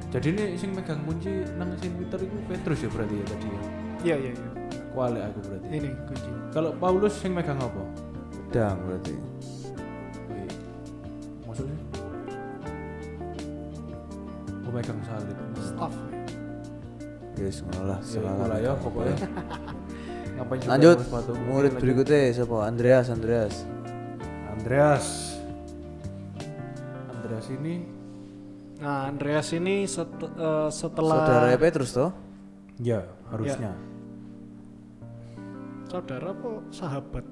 Speaker 1: Jadi ini sing megang kunci nang sing Peter itu Petrus ya berarti ya tadi ya.
Speaker 3: Iya iya iya.
Speaker 1: Kuali aku berarti.
Speaker 3: Ini kunci.
Speaker 1: Kalau Paulus sing megang apa?
Speaker 2: Pedang berarti.
Speaker 1: Wih. Maksudnya? Oh megang salib.
Speaker 3: Staff.
Speaker 2: Yes, ngono lah.
Speaker 1: Ya,
Speaker 2: selalu.
Speaker 1: iku lah ya pokoknya. Ngapain juga
Speaker 2: Lanjut.
Speaker 1: harus patung?
Speaker 2: Murid berikutnya siapa? Andreas, Andreas.
Speaker 1: Andreas. Andreas ini
Speaker 3: Nah Andreas ini set- eh, setelah
Speaker 2: Saudara Petrus toh?
Speaker 1: ya harusnya.
Speaker 3: saudara apa sahabat?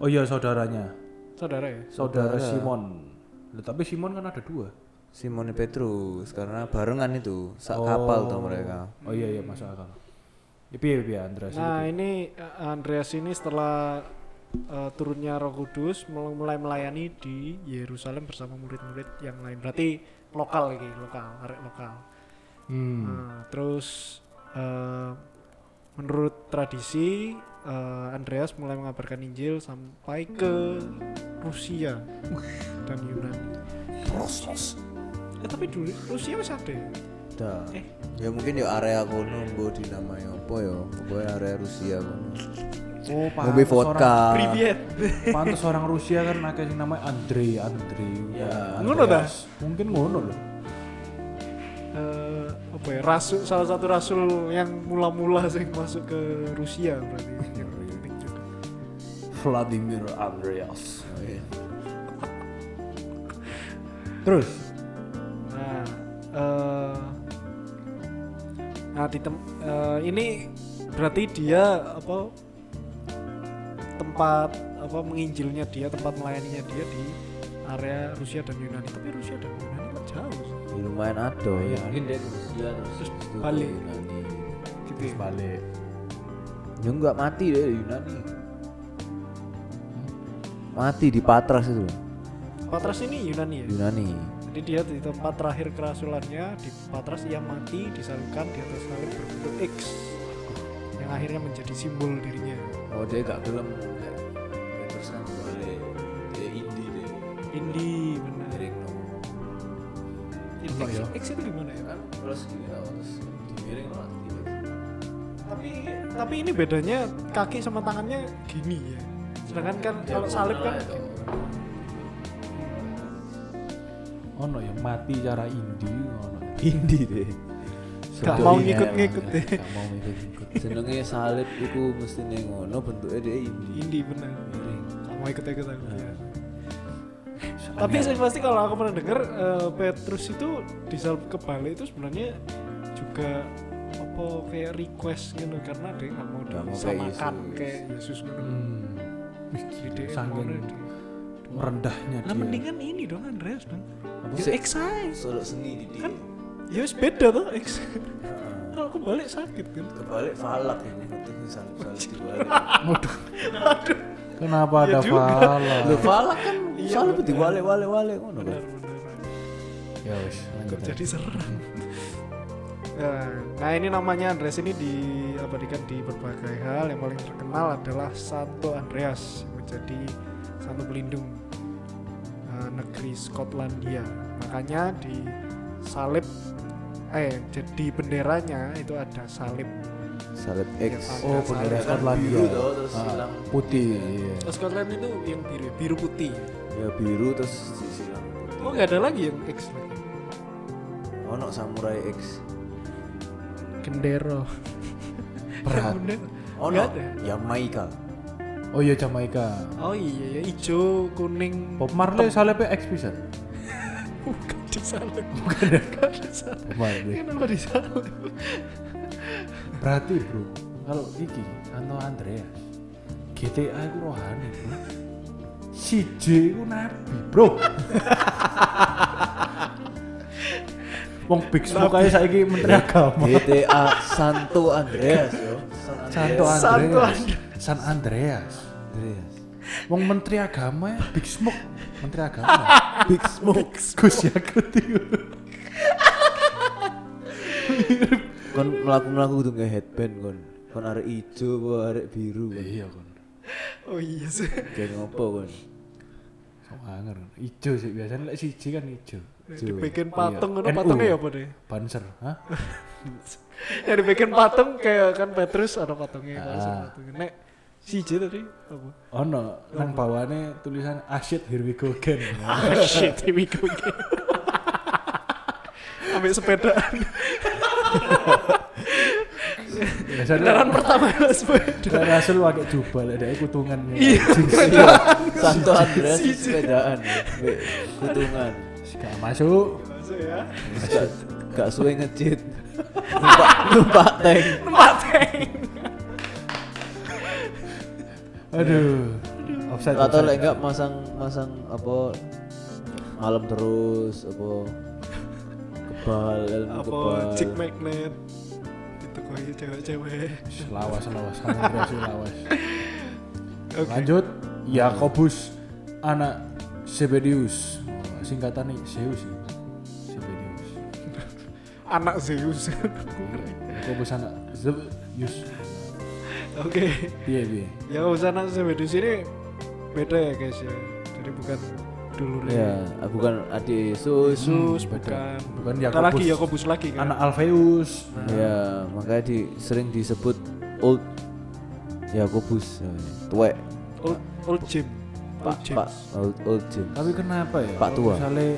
Speaker 1: Oh iya saudaranya.
Speaker 3: Saudara ya.
Speaker 1: Saudara Simon. Lah, tapi Simon kan ada dua.
Speaker 2: Simone Petrus karena barengan itu sak kapal tuh mereka.
Speaker 1: Oh iya iya masuk akal. Ya piye piye Andreas.
Speaker 3: Nah ini eh, Andreas ini setelah eh, turunnya Roh Kudus mul- mulai melayani di Yerusalem bersama murid-murid yang lain. Berarti lokal lagi, lokal, arek lokal.
Speaker 1: Hmm.
Speaker 3: Nah, terus eh, menurut tradisi eh, Andreas mulai mengabarkan Injil sampai ke Rusia dan Yunani. Eh, tapi dulu Rusia masih ada. ya?
Speaker 2: Dah.
Speaker 3: Eh.
Speaker 2: Ya mungkin ya area kono mbok dinamai apa ya? Pokoknya area Rusia kono.
Speaker 1: Oh,
Speaker 2: Ngombe
Speaker 1: pantes
Speaker 2: vodka.
Speaker 1: orang-
Speaker 3: Privet.
Speaker 1: Pantes orang Rusia kan akeh sing namanya Andre, Andre.
Speaker 2: Ya,
Speaker 3: ngono ta?
Speaker 1: Andreas. Mungkin ngono loh.
Speaker 3: eh apa ya rasul salah satu rasul yang mula-mula sih masuk ke Rusia berarti yang penting juga.
Speaker 1: Vladimir Andreas. Terus
Speaker 3: Nah, eh nah di tem- eh, ini berarti dia apa tempat apa menginjilnya dia tempat melayaninya dia di area Rusia dan Yunani tapi Rusia dan Yunani kan jauh
Speaker 2: Ya, lumayan ado ya.
Speaker 1: mungkin dia
Speaker 3: terus
Speaker 2: Itu
Speaker 3: balik
Speaker 2: ke Yunani.
Speaker 3: gitu ya.
Speaker 1: balik.
Speaker 2: Ya enggak mati deh di Yunani. Mati di Patras itu.
Speaker 3: Patras ini Yunani ya
Speaker 2: Yunani.
Speaker 3: Jadi dia di tempat terakhir kerasulannya di Patras ia mati disalibkan di atas salib berbentuk X yang akhirnya menjadi simbol dirinya.
Speaker 2: Oh dia gak gelem. Ya, Terus kan balik. Dia indie deh.
Speaker 3: Indi benar.
Speaker 2: Miring no.
Speaker 1: Apa
Speaker 3: X,
Speaker 1: ya?
Speaker 3: X itu gimana ya?
Speaker 2: kan terus gini tau terus dimiring lah gini.
Speaker 3: Tapi tapi ini bedanya kaki sama tangannya gini ya. Sedangkan kan
Speaker 2: Ya,
Speaker 3: kalau salib kan
Speaker 2: itu.
Speaker 1: Ono ya mati cara indi ono.
Speaker 2: Indi deh.
Speaker 3: gak
Speaker 2: Iya,
Speaker 3: mau ngikut-ngikut deh.
Speaker 1: Gak mau ikut-ikut.
Speaker 2: Jenenge salib iku mesti ning ngono bentuke dia indi.
Speaker 3: Indi benar. Gak mau ikut-ikut aku. ya. Tapi saya pasti kalau aku pernah dengar eh, Petrus itu disalib ke Bali itu sebenarnya juga apa kayak request gitu karena dia nggak mau
Speaker 2: Nggak mau kayak
Speaker 3: disamakan
Speaker 2: Yesus.
Speaker 3: kayak Yesus gitu.
Speaker 1: Hmm.
Speaker 3: Jadi dia
Speaker 1: Saking
Speaker 3: maunya
Speaker 1: Merendahnya
Speaker 3: dia. Nah
Speaker 1: dia.
Speaker 3: mendingan ini dong Andreas dong. Ya
Speaker 2: sih?
Speaker 3: X size.
Speaker 2: Solo seni di dia.
Speaker 3: Kan- Ya wis beda tuh X. [LAUGHS] Kalau aku balik sakit kan.
Speaker 2: Kebalik falak ini itu salib salib dibalik.
Speaker 1: Waduh.
Speaker 3: Aduh.
Speaker 1: Kenapa
Speaker 3: Iya
Speaker 1: ada
Speaker 3: juga.
Speaker 1: fala?
Speaker 2: Lho falak kan
Speaker 3: Iya,
Speaker 2: salib
Speaker 3: bener.
Speaker 2: dibalik wale wale ngono kan.
Speaker 3: Benar benar.
Speaker 1: Ya wis, lanjut. aja. Hmm.
Speaker 3: jadi serem Nah, nah ini namanya Andreas ini diabadikan di berbagai hal yang paling terkenal adalah Santo Andreas yang menjadi santo pelindung eh, negeri Skotlandia makanya di salib eh jadi benderanya itu ada salib
Speaker 2: Iya, Salib ya. X.
Speaker 1: Oh, bendera
Speaker 3: Salib.
Speaker 1: Skotlandia.
Speaker 2: Kan Biru tau, terus
Speaker 1: Ah,
Speaker 2: hilang.
Speaker 1: Putih. iya.
Speaker 3: Oh, Scotland itu yang biru biru putih
Speaker 2: Ya biru terus disilang.
Speaker 3: oh nggak ada lagi yang X lagi
Speaker 2: Ono samurai X.
Speaker 3: gendero [LAUGHS] Oh,
Speaker 1: Berat.
Speaker 2: Ono Ya,
Speaker 3: Nggak ada.
Speaker 2: Yamaika.
Speaker 1: Oh iya Jamaika.
Speaker 3: oh iya ya hijau kuning
Speaker 1: Bob Marley salibnya X pisan.
Speaker 3: [LAUGHS] bukan di salib [LAUGHS] bukan di salib
Speaker 1: Bob Marley.
Speaker 3: Kenapa di salib?
Speaker 1: Berarti bro, kalau iki Santo Andreas GTA itu rohani bro. Si J itu nabi bro. [LAUGHS] Wong Big Smoke aja saiki Menteri Agama.
Speaker 2: GTA Santo Andreas yo. San
Speaker 1: Santo
Speaker 2: Andreas.
Speaker 3: Santo
Speaker 1: Andreas. San Andreas.
Speaker 2: Andreas.
Speaker 1: Wong Menteri Agama ya Big Smoke. Menteri [LAUGHS] Agama.
Speaker 2: Big Smoke.
Speaker 1: Gus Yakut itu.
Speaker 2: Kon melaku-melaku kudu nggak headband kon. Kon arek ijo apa arek biru kon.
Speaker 1: Iya kon.
Speaker 3: Oh iya sih.
Speaker 2: Kayak ngopo kon.
Speaker 1: Sok anger. Ijo sih biasanya lek siji kan ijo.
Speaker 3: Dibikin patung
Speaker 1: Iya.
Speaker 3: kan
Speaker 1: NU.
Speaker 3: patungnya ya apa deh?
Speaker 1: Banser, hah?
Speaker 3: Ya dibikin patung kayak kan Petrus ada patungnya kalau
Speaker 1: Ah.
Speaker 3: sama patungnya. Nek si J tadi apa?
Speaker 1: Ono, nang bawane tulisan Ashit here we go again.
Speaker 3: [LAUGHS] Ah shit, here we go again. Ambil sepeda.
Speaker 1: Biasanya
Speaker 3: Kendaraan pertama adalah sepeda.
Speaker 1: Lek Rasul pakai jubah, lek dhek kutungan.
Speaker 3: Iya,
Speaker 1: Iya.
Speaker 2: Santo Andreas
Speaker 3: Si-
Speaker 2: sepedaan. ya. Be- Kutungan.
Speaker 1: Gak masuk.
Speaker 3: Masuk ya.
Speaker 2: Gak- Gak suwe ngecit. Numpak numpak tank.
Speaker 3: Mateng.
Speaker 1: Aduh. Offside.
Speaker 2: Atau
Speaker 1: offside.
Speaker 2: lek enggak masang masang apa malam terus apa kebal ilmu
Speaker 3: apa
Speaker 2: kebal
Speaker 3: chick magnet itu kok ya, cewek-cewek
Speaker 1: Selawas, selawas, selawas, selawas.
Speaker 3: Oke.
Speaker 1: Lanjut, Yakobus anak Sebedius. Singkatan nih Zeus ya. Sebedius.
Speaker 3: anak Zeus [LAUGHS] oke
Speaker 1: Yakobus anak Zeus. Iya, iya.
Speaker 3: ya usah anak Zeus di sini beda ya guys ya jadi bukan dulu
Speaker 2: ya ah, bukan adik Yesus
Speaker 3: Yesus
Speaker 1: beda. Bukan
Speaker 3: bukan ada
Speaker 1: Yakobus.
Speaker 3: lagi Yakobus lagi kan
Speaker 1: Anak Alfeus.
Speaker 2: ya makanya di, sering disebut old Ya, Yakobus namanya. tuwek
Speaker 3: old old Jim Eh,
Speaker 2: pak
Speaker 3: old
Speaker 2: pak
Speaker 3: James
Speaker 2: old, old James
Speaker 1: Tapi kenapa ya?
Speaker 2: Pak
Speaker 1: Kalau
Speaker 2: tua.
Speaker 1: Misalnya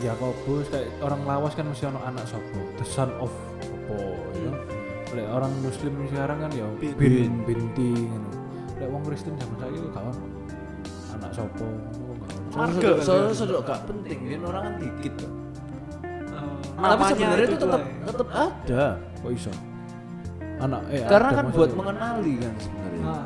Speaker 1: Yakobus kayak orang lawas kan mesti ono anak sopo, the son of sopo, you know.
Speaker 2: Hmm.
Speaker 1: Oleh orang muslim sekarang kan ya
Speaker 3: Bin.
Speaker 1: bin binti ngono. Lek wong Kristen zaman saiki itu kawan anak sopo ngono kok gak ono.
Speaker 3: Marga
Speaker 2: Soalnya-
Speaker 3: kan
Speaker 2: soalnya
Speaker 3: ya.
Speaker 2: soalnya gak penting kan orang kan dikit tuh.
Speaker 3: Eh,
Speaker 2: Nah, tapi
Speaker 3: namanya
Speaker 2: sebenarnya itu tetap
Speaker 3: doang ya.
Speaker 2: tetap ada
Speaker 1: Kok iso? Anak eh
Speaker 2: karena
Speaker 1: ada
Speaker 2: kan
Speaker 1: masa
Speaker 2: buat
Speaker 1: ya.
Speaker 2: mengenali kan sebenarnya
Speaker 3: Nah,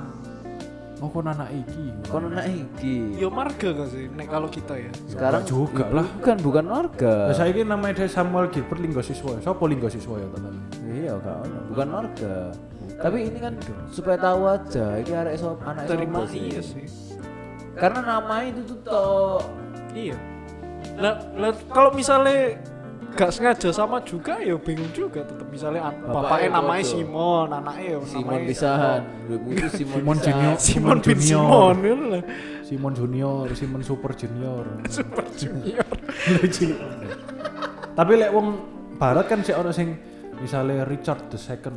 Speaker 1: Oh kon anak iki.
Speaker 2: Kon anak iki
Speaker 3: yo marga kan sih nek kalau kita ya
Speaker 2: sekarang
Speaker 1: Enggak juga
Speaker 2: ibu-
Speaker 1: lah.
Speaker 2: bukan bukan warga
Speaker 1: Nah, saiki namanya dia Samuel Gilbert Linggo Siswa. Sopo Linggo Siswa ya tenan?
Speaker 2: iya gak ono. bukan warga tapi ini kan supaya tahu aja ini arek sop anak
Speaker 3: terima
Speaker 2: sopo
Speaker 3: iya sih
Speaker 2: karena nama itu tuh tok
Speaker 3: Iya. Lah, lah kalau misalnya gak sengaja sama juga ya bingung juga tetap misalnya an-
Speaker 2: Bapaknya
Speaker 3: bapaknya namanya
Speaker 2: bodoh.
Speaker 3: Simon, anaknya ya
Speaker 2: Simon
Speaker 3: namanya-
Speaker 2: pisahan Dulu itu Simon,
Speaker 1: Simon
Speaker 2: pisahan.
Speaker 1: Junior.
Speaker 3: Simon bin
Speaker 1: Junior.
Speaker 3: Simon gitu lah.
Speaker 1: Simon Junior, Simon Super Junior.
Speaker 3: Super Junior.
Speaker 1: lucu tapi lek wong barat kan sih orang sing misalnya Richard the second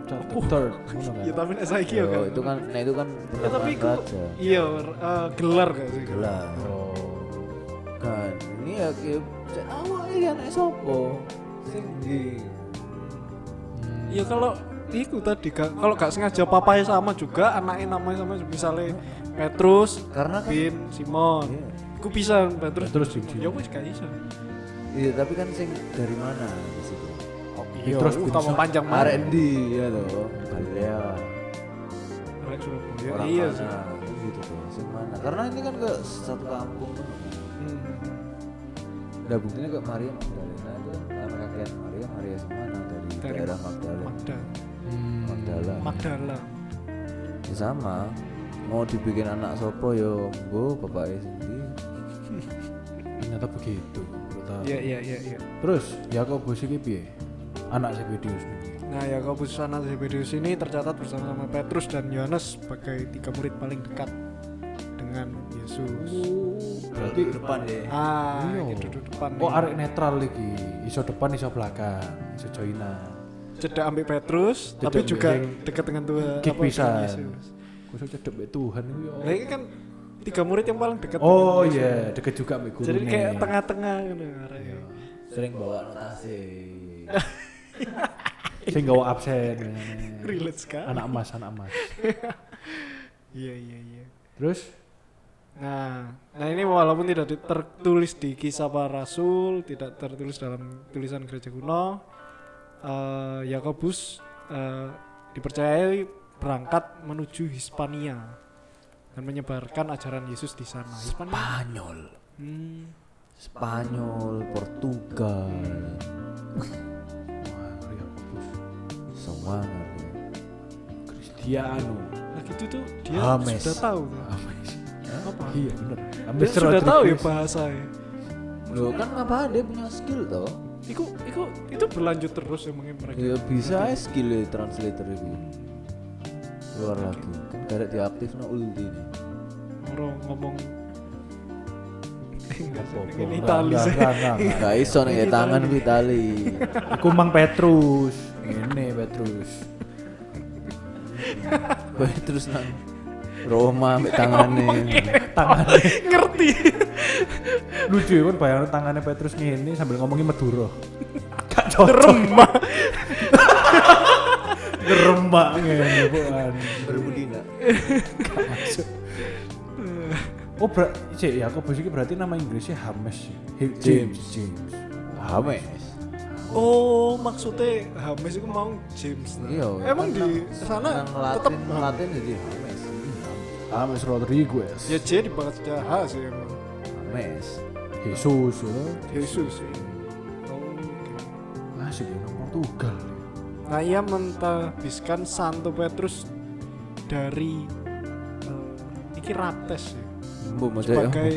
Speaker 1: Richard the third ngono kan.
Speaker 3: ya tapi nek saiki ya
Speaker 2: Yo,
Speaker 3: kan.
Speaker 2: itu kan nah itu kan
Speaker 3: Ya tapi
Speaker 2: perkembangan
Speaker 3: itu
Speaker 2: raja
Speaker 3: iya eh, gelar gak sih?
Speaker 2: lah
Speaker 1: oh
Speaker 2: kan ini ya kayak awal ini anak sopo sing di
Speaker 3: Iya kalau Iku tadi gak- kalau gak sengaja papanya sama juga, anaknya namanya sama misalnya Petrus,
Speaker 2: Karena kan-
Speaker 3: bin Simon.
Speaker 2: Iya.
Speaker 3: Iku bisa Petrus.
Speaker 1: Petrus bin
Speaker 3: bin Simon. Ya wis gak iso.
Speaker 2: Iya, tapi kan sing dari mana di situ?
Speaker 1: Petrus
Speaker 3: Iya,
Speaker 1: bin
Speaker 3: tambah
Speaker 1: Simon.
Speaker 3: panjang banget.
Speaker 2: R&D ya toh, Galilea,
Speaker 3: Arek Surabaya.
Speaker 2: orang
Speaker 3: iya sih.
Speaker 2: mana, gitu tuh, sing mana? Karena ini kan ke satu kampung.
Speaker 3: Hmm.
Speaker 2: Nah, buktinya ke Maria Magdalena itu anak kakek Maria Maria sing mana dari,
Speaker 3: Dari
Speaker 2: daerah Magdalena.
Speaker 3: Magda,
Speaker 1: Hmm.
Speaker 2: Magdala.
Speaker 3: Magdala.
Speaker 2: Ya sama, mau dibikin anak sopo yo, mbo bapaknya sendiri.
Speaker 1: ternyata begitu baru tahu.
Speaker 3: Iya iya iya iya.
Speaker 1: terus Yakobus iki piye anak Zebedius
Speaker 3: Nah, Yakobus sana Zebedius ini tercatat bersama-sama Petrus dan Yohanes sebagai tiga murid paling dekat dengan Yesus.
Speaker 2: Berarti depan ya. deh.
Speaker 3: Ah,
Speaker 1: Iya.
Speaker 3: ini duduk depan.
Speaker 1: oh
Speaker 3: nih.
Speaker 1: arek netral iki iso depan iso belakang iso joinan
Speaker 3: Cedak ambek Petrus,
Speaker 1: Cedak
Speaker 3: tapi
Speaker 1: ambek
Speaker 3: juga
Speaker 1: yang
Speaker 3: dekat dengan Tuhan.
Speaker 1: Kik pisan.
Speaker 3: Yesus.
Speaker 1: khusus cedek mbek Tuhan iku ya
Speaker 3: Nah, ini kan tiga murid yang paling dekat.
Speaker 1: oh
Speaker 3: dengan Yesus.
Speaker 1: iya ya. deket juga mbek gurune
Speaker 3: Jadi kayak tengah-tengah gitu. arek.
Speaker 2: Sering bawa notasi.
Speaker 1: sing gawa absen
Speaker 3: [LAUGHS] Relate sekali.
Speaker 1: anak emas anak emas
Speaker 3: Iya iya iya.
Speaker 1: terus
Speaker 3: Nah, nah ini walaupun tidak di- tertulis di kisah para rasul, tidak tertulis dalam tulisan gereja kuno, eh, Yakobus eh, dipercayai berangkat menuju Hispania dan menyebarkan ajaran Yesus di sana. Hispania.
Speaker 2: Spanyol.
Speaker 3: Hmm,
Speaker 2: Spanyol, Portugal,
Speaker 1: wah Yakobus
Speaker 2: semua ngerti.
Speaker 1: Cristiano
Speaker 3: nah gitu tuh dia
Speaker 1: Ah,
Speaker 2: Hames.
Speaker 3: sudah tahu. tuh.
Speaker 1: apa iya bener
Speaker 3: Dia
Speaker 1: Hames
Speaker 3: sudah tahu ya
Speaker 1: Rodriguez.
Speaker 3: bahasa.
Speaker 2: Loh kan apa dia punya skill toh?
Speaker 3: Iku, iku, itu berlanjut terus emangnya mereka.
Speaker 1: Iya.
Speaker 2: Ya bisa aja skill translator itu. Keluar lagi. Kan karek diaktif no ulti nih.
Speaker 3: Orang ngomong enggak sih,
Speaker 1: Iya. Apa-apa.
Speaker 3: ini
Speaker 1: Enggak,
Speaker 3: Itali
Speaker 1: enggak,
Speaker 3: sih.
Speaker 1: enggak,
Speaker 3: [LAUGHS]
Speaker 1: enggak, enggak.
Speaker 2: Gak iso nih tangan ku [LAUGHS] Itali.
Speaker 1: aku mang Petrus ini Petrus
Speaker 2: Boy, terus nang Roma ambek tangane.
Speaker 1: tangannya
Speaker 3: Ngerti.
Speaker 1: lucu ya kan bayangin tangannya Petrus ini sambil ngomongin
Speaker 3: [LAUGHS]
Speaker 1: Maduro gak cocok
Speaker 3: Remah.
Speaker 1: gerembak ngene bukan
Speaker 2: Berbudi nak.
Speaker 1: oh ber cek ya aku ini berarti nama Inggrisnya Hames ya?
Speaker 2: James.
Speaker 1: James
Speaker 2: Hames.
Speaker 3: Oh, maksudnya Hames itu mau James. nah.
Speaker 2: Iya.
Speaker 3: Emang di sana
Speaker 2: nang
Speaker 3: tetap
Speaker 2: Latin Latin jadi Hames.
Speaker 1: Hames Rodriguez
Speaker 3: ya J dibaca H sih emang.
Speaker 2: Hames.
Speaker 1: Jesus ya
Speaker 3: Yesus sih. Oh.
Speaker 1: asik ya nang Portugal.
Speaker 3: Nah, ia mentabiskan Santo Petrus dari eh, iki rates ya.
Speaker 2: Bu, maksudnya
Speaker 3: Sebagai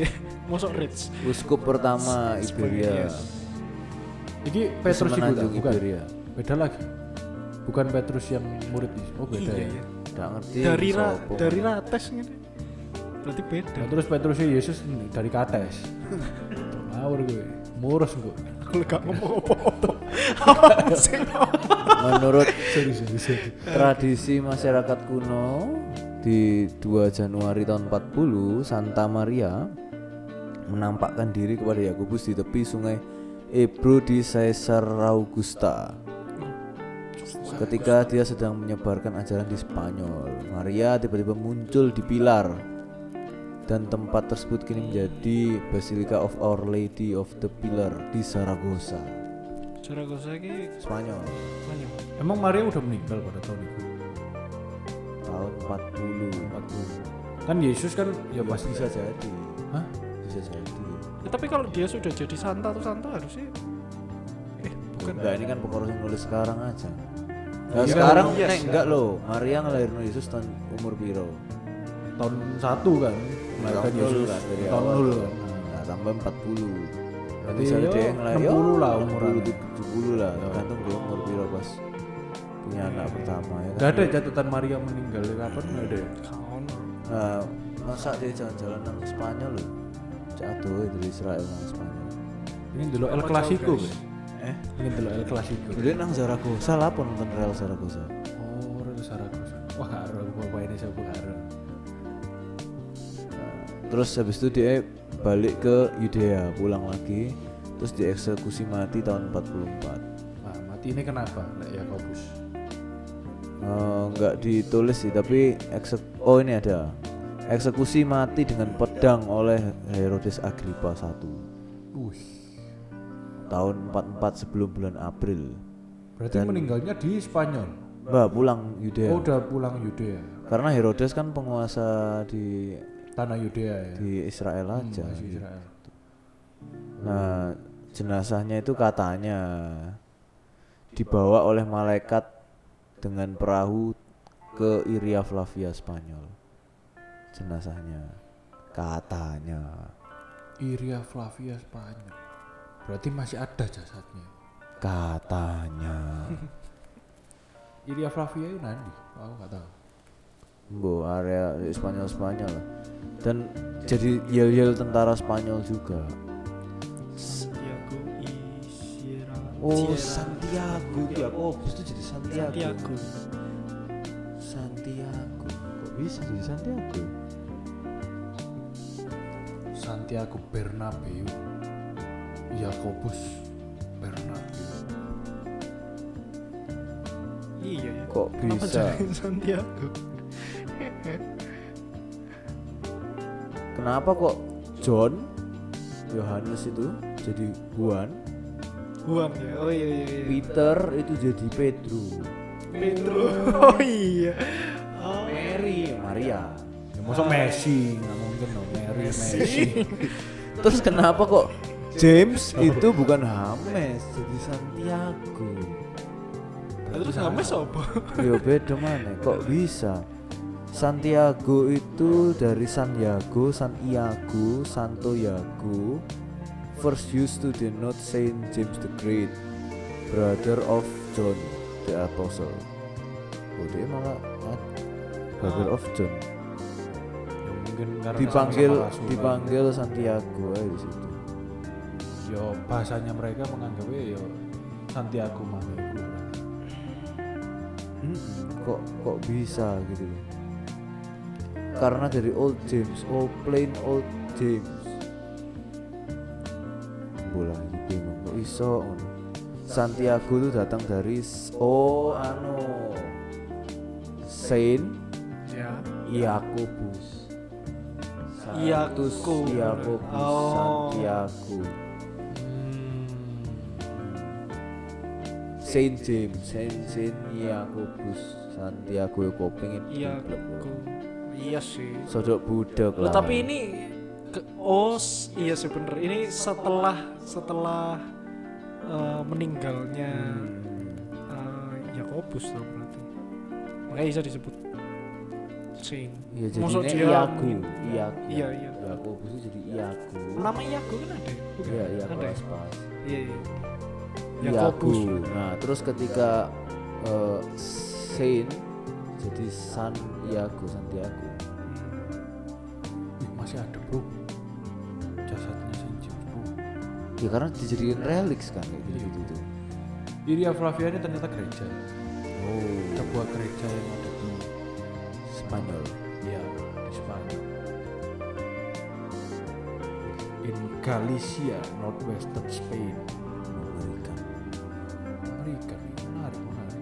Speaker 3: mosok Ritz.
Speaker 2: uskup pertama Iberia.
Speaker 1: Iki Petrus itu
Speaker 2: Semenanjung
Speaker 1: bukan.
Speaker 2: Iberia.
Speaker 1: Beda lagi. Bukan Petrus yang murid itu. Oh beda ya.
Speaker 3: Iya, iya.
Speaker 2: Nggak ngerti.
Speaker 3: Dari ra,
Speaker 2: sopo.
Speaker 3: dari rates ngene. Berarti beda.
Speaker 1: Nah, terus Petrusnya Yesus ini dari Kates. Ngawur gue. Murus gue.
Speaker 3: Aku gak ngomong apa-apa. [LAUGHS] Apa sih? [LAUGHS]
Speaker 2: Menurut
Speaker 1: Sorry, sorry, sorry.
Speaker 2: Tradisi masyarakat kuno di 2 Januari tahun 40 Santa Maria menampakkan diri kepada Yakobus di tepi sungai Ebro di Caesar Augusta. Ketika dia sedang menyebarkan ajaran di Spanyol, Maria tiba-tiba muncul di pilar dan tempat tersebut kini menjadi Basilica of Our Lady of the Pillar di Saragossa,
Speaker 3: Saragossa iki
Speaker 2: Spanyol,
Speaker 3: banyak.
Speaker 1: Emang Maria udah meninggal pada tahun itu.
Speaker 2: tahun 40. 40.
Speaker 1: Kan Yesus kan ya pasti
Speaker 2: bisa jadi
Speaker 1: Hah?
Speaker 2: bisa jadi
Speaker 3: Ya, tapi kalau dia sudah jadi santa tuh santa harusnya eh bukan
Speaker 2: enggak ini kan pokoknya harus nulis sekarang aja Nah,
Speaker 1: Iya,
Speaker 2: sekarang
Speaker 3: iya,
Speaker 2: nek
Speaker 3: iya.
Speaker 2: enggak loh Maria ngelahirin Yesus tahun umur piro
Speaker 1: tahun satu kan. Melahirkan
Speaker 2: Tahun nol
Speaker 1: Yesus
Speaker 2: kan,
Speaker 3: ya.
Speaker 2: dari
Speaker 1: tahun
Speaker 2: awal.
Speaker 1: nol kan.
Speaker 2: nah, tambah 40
Speaker 1: Berarti
Speaker 2: berarti misalnya
Speaker 1: yo,
Speaker 2: dia oh, ngelahirin
Speaker 1: 60 lah
Speaker 2: 60,
Speaker 1: umurannya. Iya.
Speaker 2: 70 lah tergantung dia umur piro pas punya anak pertama ya
Speaker 1: Gak
Speaker 2: kan
Speaker 1: ada catatan Maria meninggal kapan nggak ada. ya?
Speaker 3: kaon
Speaker 2: nah, masa dia jalan-jalan nang Spanyol loh jatuh dari Israel nang Spanyol
Speaker 1: Ini dulu El
Speaker 3: Apa
Speaker 1: Clasico,
Speaker 3: jauh, guys?
Speaker 1: eh? Ini dulu El Clasico.
Speaker 2: Jadi nang Zaragoza lah pun nonton Real Zaragoza
Speaker 1: Oh, Real Saragossa. Wah, karo aku mau ini siapa karo.
Speaker 2: Terus habis itu dia balik ke Yudea, pulang lagi, terus dieksekusi mati tahun 44.
Speaker 1: Nah, mati ini kenapa? Lek Yakobus.
Speaker 2: Eh, Nggak ditulis sih, tapi eksek oh ini ada eksekusi mati dengan pedang oleh Herodes Agripa 1
Speaker 1: Wih.
Speaker 2: tahun 44 sebelum bulan April.
Speaker 1: Berarti meninggalnya di Spanyol.
Speaker 2: Mbak pulang Yudea.
Speaker 1: Oh, udah pulang Yudea.
Speaker 2: Karena Herodes kan penguasa di
Speaker 1: Tanah Yudea ya.
Speaker 2: di Israel aja.
Speaker 1: Hmm, Masih Israel.
Speaker 2: Nah, jenazahnya itu katanya dibawa oleh malaikat dengan perahu ke Iria Flavia Spanyol. Jenazahnya katanya,
Speaker 1: Iria Flavia Spanyol. Berarti masih ada jasadnya.
Speaker 2: [LAUGHS] katanya.
Speaker 1: Iria Flavia itu nanti. Aku nggak tahu.
Speaker 2: Bu, area Spanyol Spanyol. Dan jadi yel-yel tentara Spanyol juga.
Speaker 3: Santiago Isiera
Speaker 2: Oh,
Speaker 3: Sierra-
Speaker 2: Santiago. Ya, oh, itu jadi Santiago.
Speaker 3: Santiago
Speaker 2: Santiago. Kok bisa jadi Santiago?
Speaker 1: Santiago Bernabeu. Yakobus Bernabeu.
Speaker 3: iya ya
Speaker 2: Kok
Speaker 3: kenapa
Speaker 2: bisa?
Speaker 3: jadi Santiago
Speaker 2: Kenapa kok John Yohanes itu jadi Juan,
Speaker 3: Juan ya oh iya iya, iya.
Speaker 2: Peter itu jadi Pedro,
Speaker 3: Pedro oh iya oh,
Speaker 2: Mary Maria.
Speaker 1: Ya masa
Speaker 2: Ah.
Speaker 1: Messi nggak mungkin dong. Mary Messi.
Speaker 2: Terus kenapa kok James itu bukan Hames jadi Santiago?
Speaker 3: Nah, terus namanya siapa
Speaker 2: Yo beda mana? Kok bisa? Santiago itu dari San Iago, San Iago, Santo Iago. First used to denote Saint James the Great, brother of John the Apostle. Oh, dia malah ah, brother of John.
Speaker 1: ya mungkin karena
Speaker 2: Dipanggil
Speaker 1: sama-sama rasul
Speaker 2: dipanggil Santiago aja di situ.
Speaker 1: kan. yo bahasanya mereka menganggapnya yo Santiago Mamiku
Speaker 2: Mm-mm, kok kok bisa gitu loh. karena dari old James old plain old James bola lagi bingung kok iso ngono. Santiago itu datang dari s- oh anu Saint
Speaker 3: ya
Speaker 2: Iya, Yakobus Santus
Speaker 3: Iaco.
Speaker 2: Yakobus
Speaker 3: Iya, Oh.
Speaker 2: Iya,
Speaker 3: Hmm.
Speaker 2: Santiago Saint James Saint Saint iya, Yakobus Santiago yo ya, pengen
Speaker 3: Iago iya sih
Speaker 2: Sodok budak
Speaker 3: Iya, Loh,
Speaker 2: lah.
Speaker 3: tapi ini iya ke, oh s- iya sih bener ini setelah setelah eh, meninggalnya
Speaker 2: Hmm.
Speaker 3: eh, Yakobus lah berarti makanya bisa disebut sing
Speaker 2: Iya
Speaker 3: Maksud
Speaker 2: jadinya
Speaker 3: dia-
Speaker 2: iaku, iaku.
Speaker 3: Iya, iya.
Speaker 2: Iaku itu jadi iaku.
Speaker 3: nama Yago kan ada ya? Bukan?
Speaker 2: Iya, iya
Speaker 3: ada ya?
Speaker 2: pas pas.
Speaker 3: iya iya
Speaker 2: Iaku.
Speaker 3: Ya, Yakobus
Speaker 2: Nah, terus ketika eh, Saint jadi San Iago, Santiago.
Speaker 1: Ih, masih ada bro jasadnya Sinji bro
Speaker 2: Ya karena dijadiin reliks kan kayak gitu gitu.
Speaker 1: Iria Flavia ini ternyata gereja
Speaker 2: Oh,
Speaker 1: sebuah gereja yang ada di
Speaker 2: Spanyol.
Speaker 1: ya di Spanyol in Galicia northwestern Spain
Speaker 2: Mengerikan.
Speaker 1: Amerika nih menarik menarik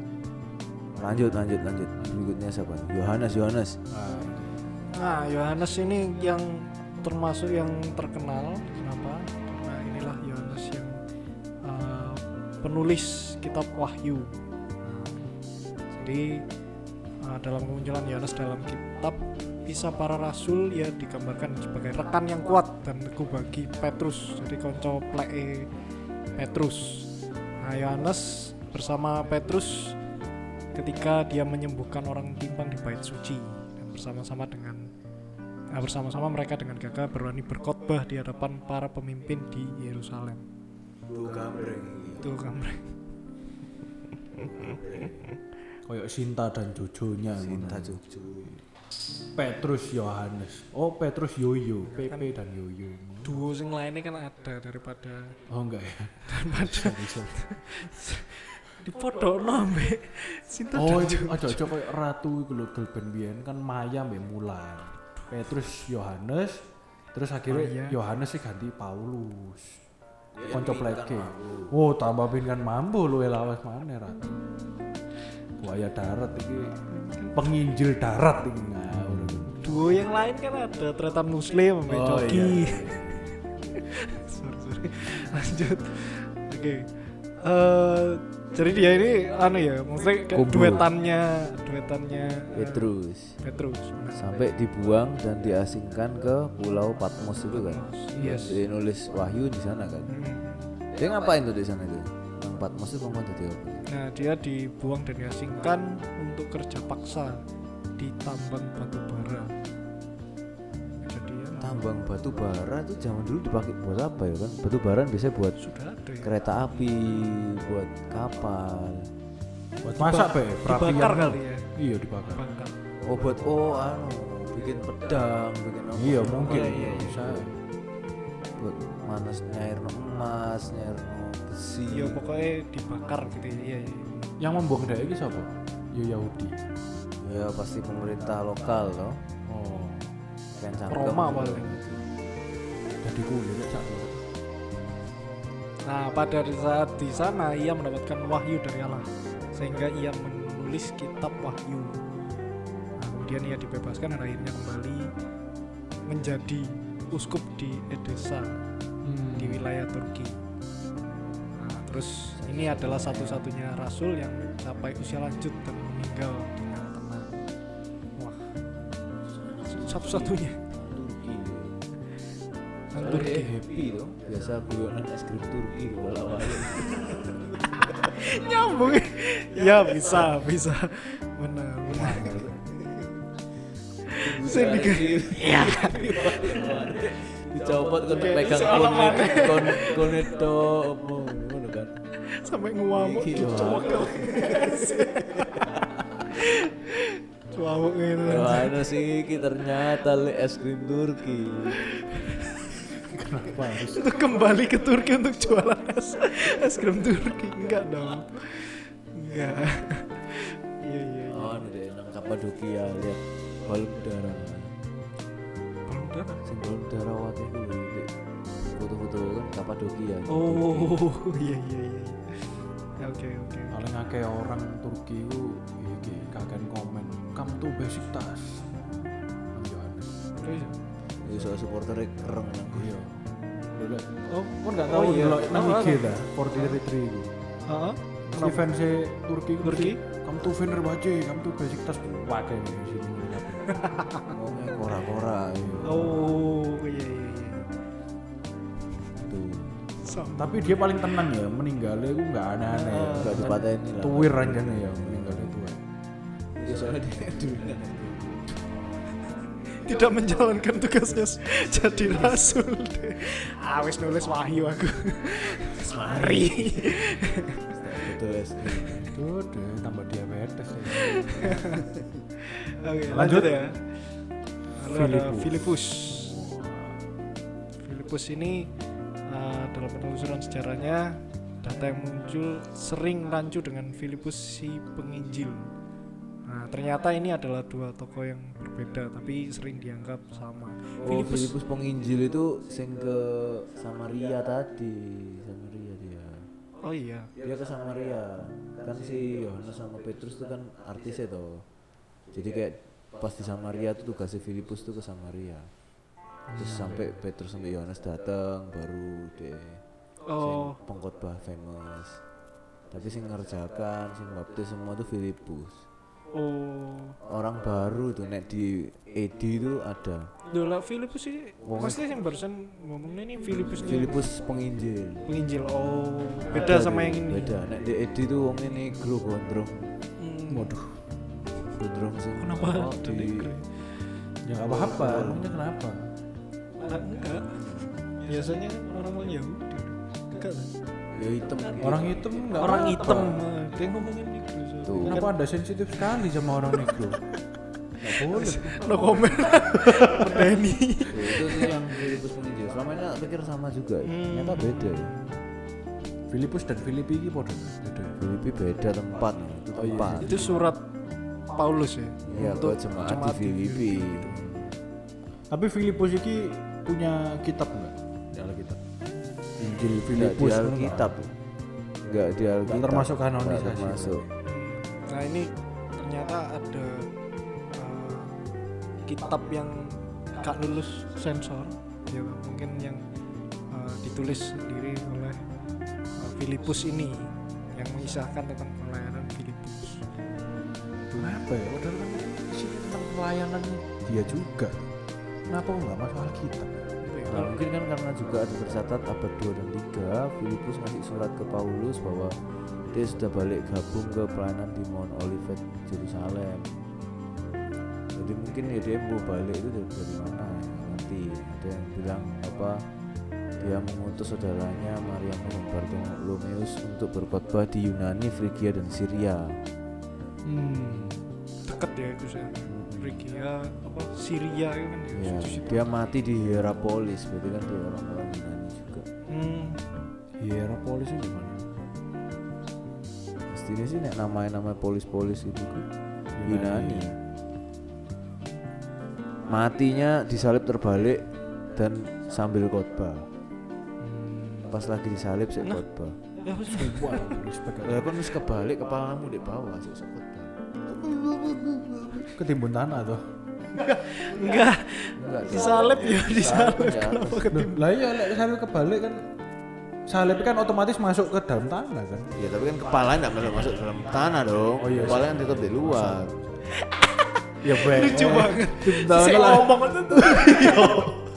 Speaker 2: Lanjut, lanjut, lanjut. Berikutnya siapa? Yohanes, Yohanes.
Speaker 1: nah, ini.
Speaker 3: nah Yohanes ini yang termasuk yang terkenal kenapa karena inilah Yohanes yang eh, penulis kitab Wahyu jadi eh, dalam kemunculan Yohanes dalam kitab kisah para rasul ya digambarkan sebagai rekan yang kuat dan teguh bagi Petrus jadi konco pleke Petrus nah Yohanes bersama Petrus ketika dia menyembuhkan orang timpang di bait suci dan bersama-sama dengan nah, bersama-sama mereka dengan gagah berani berkhotbah di hadapan para pemimpin di Yerusalem itu gambar
Speaker 1: Koyok Sinta dan Jojonya
Speaker 2: Cinta
Speaker 1: ngono.
Speaker 2: Jogja.
Speaker 1: Petrus Yohanes oh Petrus Yoyo PP dan Yoyo
Speaker 3: duo sing lainnya kan ada daripada
Speaker 1: oh enggak ya
Speaker 3: daripada
Speaker 1: bisa
Speaker 3: di podok nombe Sinta
Speaker 1: Oh,
Speaker 3: dan
Speaker 1: itu aja aja kayak ratu iku lho girl band biyen kan Maya mbek Mulan. Petrus Yohanes terus
Speaker 3: Maya.
Speaker 1: akhirnya Yohanes sih ganti Paulus.
Speaker 3: Ya,
Speaker 1: Konco pleke. Oh, tambah pin kan mampu lu lawas maneh ratu. Buaya darat iki penginjil darat iki
Speaker 3: Nah,
Speaker 1: ngawur.
Speaker 3: duo yang lain kan ada tretan muslim sampai
Speaker 1: Oh,
Speaker 3: coki
Speaker 1: iya.
Speaker 3: [LAUGHS] sorry sorry lanjut oke Eh, jadi dia ini anu ya maksudnya kayak
Speaker 2: Kubu. Iya.
Speaker 3: duetannya duetannya eh,
Speaker 2: Petrus.
Speaker 3: Petrus
Speaker 2: Sampai dibuang dan diasingkan ke Pulau Patmos itu kan.
Speaker 3: yes
Speaker 2: Dia nulis Wahyu di sana kan.
Speaker 3: Hmm.
Speaker 2: Dia ngapain tuh di sana tuh? Yang Patmos itu kemana tadi apa?
Speaker 3: nah dia dibuang dan diasingkan untuk kerja paksa di tambang batu bara jadi ya,
Speaker 2: Tambang batu bara tuh zaman dulu dipakai buat apa ya kan? Batu bara biasanya buat
Speaker 3: sudah ada ya
Speaker 2: kereta api, buat kapal.
Speaker 1: Buat masak be perapian.
Speaker 3: dibakar kali ya
Speaker 1: Iya dibakar.
Speaker 3: dibakar
Speaker 2: Oh buat oh anu bikin pedang, bikin apa?
Speaker 1: Iya mungkin.
Speaker 3: iya, iya,
Speaker 1: Bisa.
Speaker 2: Buat manas nyair emas, nyair besi.
Speaker 3: iya pokoknya dibakar gitu ya iya, iya.
Speaker 1: Yang membuang dia iki sapa? Ya Yahudi.
Speaker 2: Ya pasti pemerintah lokal loh.
Speaker 1: Oh.
Speaker 2: Kan cangkem.
Speaker 3: Roma paling
Speaker 1: Jadi kulit sak.
Speaker 3: Nah, pada saat di sana ia mendapatkan wahyu dari Allah sehingga ia menulis kitab wahyu. Nah, kemudian ia dibebaskan dan akhirnya kembali menjadi uskup di Edesa
Speaker 1: Hmm.
Speaker 3: di wilayah Turki. Nah, terus ini adalah satu-satunya rasul yang mencapai usia lanjut dan meninggal dengan tenang. Wah, satu-satunya. Orang Turki.
Speaker 2: happy loh. Biasa guyonan es krim Turki walau
Speaker 3: nyambung ya bisa bisa benar benar Sing dike-
Speaker 2: Iya. Dicopot kon
Speaker 3: Oke,
Speaker 2: pegang
Speaker 3: seolah
Speaker 2: kon kon kon itu apa ngono kan.
Speaker 3: sampai ngamuk
Speaker 2: Iki lho.
Speaker 3: cowok cowok ini
Speaker 2: Wah, anu sih iki ternyata le es krim Turki.
Speaker 1: Kenapa harus
Speaker 3: itu kembali ke Turki untuk jualan es es krim Turki enggak dong enggak iya iya iya
Speaker 2: Oh, ada nang Kapadokia lihat balon udara.
Speaker 3: Belum ada.
Speaker 2: Sing balon udara wae iku lho. Dik. Foto-foto kan Kapadokia.
Speaker 3: oh iya iya iya Ya, oke oke
Speaker 1: paling akeh orang Turki itu iki kakek komen come to Besiktas Bang Yohanes
Speaker 3: Terus,
Speaker 2: Ya soal supporternya kereng nang
Speaker 1: iya Lho, oh kan nggak
Speaker 3: Oh,
Speaker 1: tahu
Speaker 3: iya.
Speaker 1: ndelok nang
Speaker 3: Oh,
Speaker 1: IG ta 433 itu
Speaker 3: ah,
Speaker 1: Mesti fans Turki itu
Speaker 3: Turki?
Speaker 1: mesti, come to Fenerbahce come to Besiktas wakai di sini
Speaker 2: ngomongnya kora-kora. iya.
Speaker 3: oh iya iya iya
Speaker 2: Tuh.
Speaker 3: kosong.
Speaker 1: Tapi dia paling tenang ya, meninggalnya itu nggak aneh-aneh ya.
Speaker 2: Nggak dipatahin lah.
Speaker 1: Tuwir anjane ya meninggalnya tuwir.
Speaker 2: Ya, soalnya dia [LAUGHS] duluan.
Speaker 3: Tidak menjalankan tugasnya s- jadi rasul. ah wis nulis wahyu aku. Wis Mari.
Speaker 2: Betul SD.
Speaker 1: Aduh, deh, tambah diabetes ya.
Speaker 3: Oke,
Speaker 1: Lanjut.
Speaker 3: lanjut ya. Lalu ada
Speaker 1: Filipus.
Speaker 3: Filipus. Filipus ini eh, dalam penelusuran sejarahnya data yang muncul sering rancu dengan Filipus si penginjil. Nah, ternyata ini adalah dua tokoh yang berbeda tapi sering dianggap sama.
Speaker 2: Oh,
Speaker 3: Filipus
Speaker 2: Filipus penginjil itu sing ke Samaria tadi. Samaria dia.
Speaker 3: Oh iya.
Speaker 2: Dia ke Samaria. Kan si Yohanes sama Petrus itu kan artisnya toh. Jadi kayak pas di Samaria tuh tugasnya Filipus tuh ke Samaria. Terus sampai Petrus sampai Yohanes datang baru deh
Speaker 3: Oh,
Speaker 2: sing pengkhotbah famous. Tapi sing ngerjakan, sing baptis semua tuh Filipus.
Speaker 3: oh.
Speaker 2: Orang baru tuh nek di ED itu ada.
Speaker 3: Dola Filipus sih.
Speaker 2: Wong-
Speaker 3: Maksudnya yang barusan ngomongnya ini Filipus
Speaker 2: Filipus penginjil.
Speaker 3: penginjil. Oh, beda sama yang ini.
Speaker 2: beda nek di Edi tuh wong ini negro gondrong
Speaker 3: Hmm.
Speaker 1: Waduh,
Speaker 2: gondrong sih
Speaker 3: Kenapa
Speaker 2: Oh,
Speaker 3: ada
Speaker 2: di
Speaker 3: negro?
Speaker 1: ya nggak apa-apa. Emangnya kenapa?
Speaker 3: Nah, enggak. Biasanya kan orang-orang Yahudi. Enggak. kan?
Speaker 2: ya hitam gitu.
Speaker 1: Orang hitam nggak
Speaker 3: orang
Speaker 1: apa-apa.
Speaker 3: hitam. Nah, Dia ngomongin negro. soalnya.
Speaker 2: Tuh.
Speaker 1: Kenapa anda sensitif sekali sama orang negro? Nggak boleh.
Speaker 3: No comment. Berani.
Speaker 2: Tuh, Ya, itu tuh yang Filipus penginjil selama ini tak pikir sama juga ya.
Speaker 3: Hmm.
Speaker 2: ternyata beda ya
Speaker 1: Filipus dan Filipi ini podo. Beda.
Speaker 2: Filipi beda tempat ya. itu tempat
Speaker 3: Itu surat Paulus ya.
Speaker 2: ya buat jemaat di Filipi
Speaker 1: Tapi Filipus ini punya kitab nggak? Di Alkitab. Injil
Speaker 2: nggak di
Speaker 1: Filipus. ngono nggak?
Speaker 2: Alkitab nggak di Alkitab
Speaker 1: termasuk kanonisasi.
Speaker 2: Nggak termasuk
Speaker 3: Nah, ini ternyata ada eh, kitab yang gak lulus sensor. Ya mungkin yang eh, ditulis sendiri oleh eh, Filipus ini yang mengisahkan tentang pelayanan Filipus. ya.
Speaker 1: Kenapa ya? Padahal kan isinya tentang pelayanan dia juga. Kenapa kok nggak masuk Alkitab?
Speaker 2: Nah, mungkin kan karena juga ada tercatat abad 2 dan 3 Filipus ngasih surat ke Paulus bahwa dia sudah balik gabung ke pelayanan di Mount Olivet Jerusalem jadi mungkin ya dia mau balik itu dari, dari mana ya, nanti ada yang bilang apa dia mengutus saudaranya Maria dan Bartolomeus untuk berkhotbah di Yunani, Frigia dan Syria
Speaker 1: Hmm.
Speaker 3: dekat ya itu saya Frigia apa Syria itu kan ya,
Speaker 2: ya,
Speaker 3: situ-situ.
Speaker 2: dia mati di Hierapolis berarti kan dia orang-orang Yunani juga
Speaker 3: Hmm,
Speaker 1: Hierapolis itu Iya, gimana?
Speaker 2: Pastinya sih nek namanya-namanya polis-polis gitu kan. Yunani. Matinya disalib terbalik dan sambil khotbah. Pas lagi disalib sik khotbah.
Speaker 3: ya harus
Speaker 1: [LAUGHS] Wah, respect.
Speaker 2: Nah. Lah kan wis kebalik kepalamu di bawah sik sik khotbah.
Speaker 1: Ketimbun tanah tuh.
Speaker 3: enggak
Speaker 2: Enggak
Speaker 3: disalib ya disalib
Speaker 2: ya.
Speaker 3: kenapa
Speaker 1: Loh,
Speaker 3: ketimbun
Speaker 1: Lah iya, lek salib kebalik kan salib kan otomatis masuk ke dalam tanah kan.
Speaker 2: Ya tapi kan kepalanya enggak boleh masuk dalam tanah dong. Oh, iya, kepalanya kan tetap di luar.
Speaker 1: Ya baik.
Speaker 3: lucu banget
Speaker 2: Tahun
Speaker 3: saya
Speaker 2: lah.
Speaker 3: ngomong itu tuh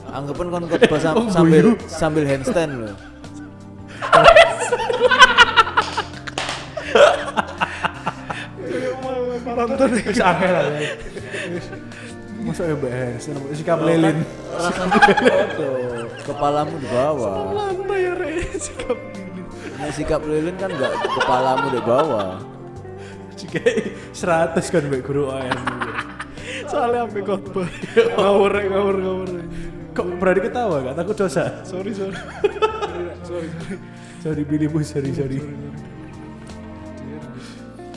Speaker 2: Anggapan kon khotbah [LAUGHS] sam- sambil sambil handstand loh.
Speaker 3: nonton
Speaker 1: Wis akeh lah. ya. Wis. Masuk ya baik. Sikap lilin.
Speaker 2: [LAUGHS] Kepalamu di bawah.
Speaker 3: lantai ya Rey sikap ini
Speaker 2: Nah, sikap lilin kan nggak kepalamu di bawah.
Speaker 1: Jika 100 kan baik guru ayam.
Speaker 3: soalnya ambil khotbah ngawur Rey, ngawur ngawur Rey.
Speaker 1: Kok berani ketawa gak takut dosa?
Speaker 3: sorry sorry
Speaker 2: Iya,
Speaker 3: sorry sorry
Speaker 1: Sorry pilih bu, sorry sorry.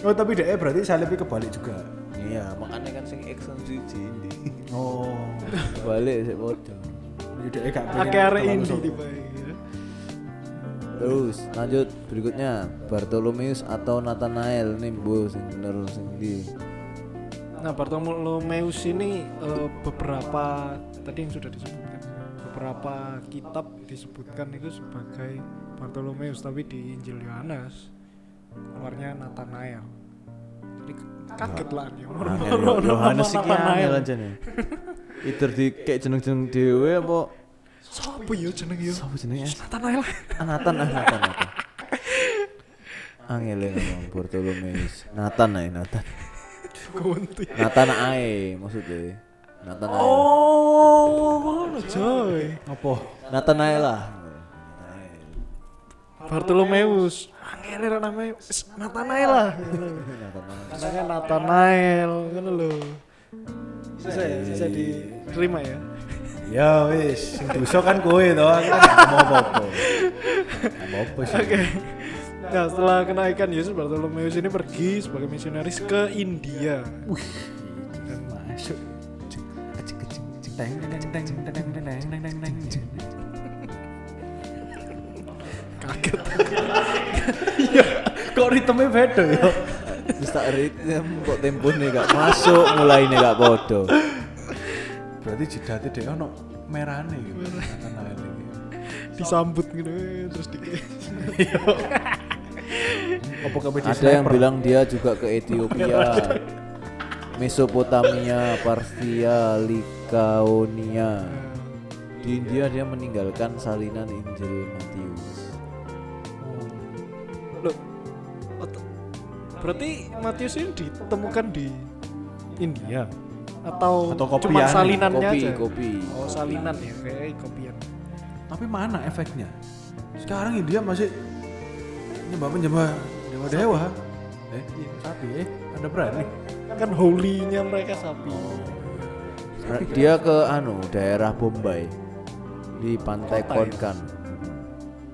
Speaker 1: Oh tapi DE berarti salibnya kebalik juga.
Speaker 2: Iya, makanya kan sing action suci ini.
Speaker 1: Oh.
Speaker 2: [LAUGHS] Balik sik bodoh.
Speaker 1: Jadi DE gak pengen.
Speaker 3: akhirnya
Speaker 1: terlalu
Speaker 3: ini
Speaker 1: sok.
Speaker 3: tiba ya
Speaker 2: Terus lanjut berikutnya Bartolomeus atau Nathanael nih bu sing bener sing di
Speaker 3: Nah, Bartolomeus ini eh, beberapa tadi yang sudah disebutkan beberapa kitab disebutkan itu sebagai Bartolomeus tapi di Injil Yohanes keluarnya Nathanael. Jadi kaget lah dia. [LAUGHS]
Speaker 2: Nah,
Speaker 3: Moro-moro nama
Speaker 2: Yohanes iki kan
Speaker 3: Nathanael.
Speaker 2: angel aja nih. Either di kayak jeneng-jeneng dhewe apa
Speaker 3: Sopo ya jeneng ya?
Speaker 2: Sopo jenenge?
Speaker 3: Nathanael.
Speaker 2: Nathan, ah Nathan, Nathan. Angel ya ngomong Bartolomeus. Nathan ae, Nathan.
Speaker 3: Kunti.
Speaker 2: Nathan ae maksudnya. Nathan ae.
Speaker 3: Oh, ngono coy.
Speaker 1: Apa?
Speaker 2: Nathan ae lah.
Speaker 3: Bartolomeus. Angel era namanya Wis, Nathanael lah.
Speaker 2: Nathan ae.
Speaker 3: Katanya Nathanael ngono lho. Bisa ya, bisa diterima ya.
Speaker 1: Ya wis, sing dosa kan kowe to, aku kan mau apa-apa. Mau apa sih?
Speaker 3: Oke. Nah, setelah kenaikan Yesus Bartolomeus ini pergi sebagai misionaris ke India.
Speaker 1: Masuk. Teng, teng, teng, teng, teng, teng, teng, teng, teng, teng, teng.
Speaker 3: Kaget.
Speaker 1: Kok ritme beda ya?
Speaker 2: Terus tak ritm kok tempo nih gak masuk, mulai nih gak bodoh.
Speaker 1: Berarti jedate dhek E ono merahane gitu. Tengah ini.
Speaker 3: Disambut gitu eh, terus di
Speaker 1: Apa kabeh di
Speaker 2: Ada yang
Speaker 1: sniper?
Speaker 2: bilang dia juga ke Ethiopia, Mesopotamia, Parthia, Likaonia. Di India dia meninggalkan salinan Injil Matius.
Speaker 3: Loh. ot- Berarti Matius ini ditemukan di India
Speaker 1: Iya.
Speaker 3: atau,
Speaker 1: Atau
Speaker 3: cuma
Speaker 1: kopian,
Speaker 3: salinannya
Speaker 2: Kopi,
Speaker 3: aja?
Speaker 2: kopi.
Speaker 3: Oh, salinan ya, kayak kopian.
Speaker 1: Tapi mana efeknya? Sekarang India masih nyembah penyembah dewa dewa. Eh, sapi eh, ada berani.
Speaker 3: Kan holy-nya mereka sapi.
Speaker 2: Nah, Dia ke anu daerah Bombay di pantai Konkan,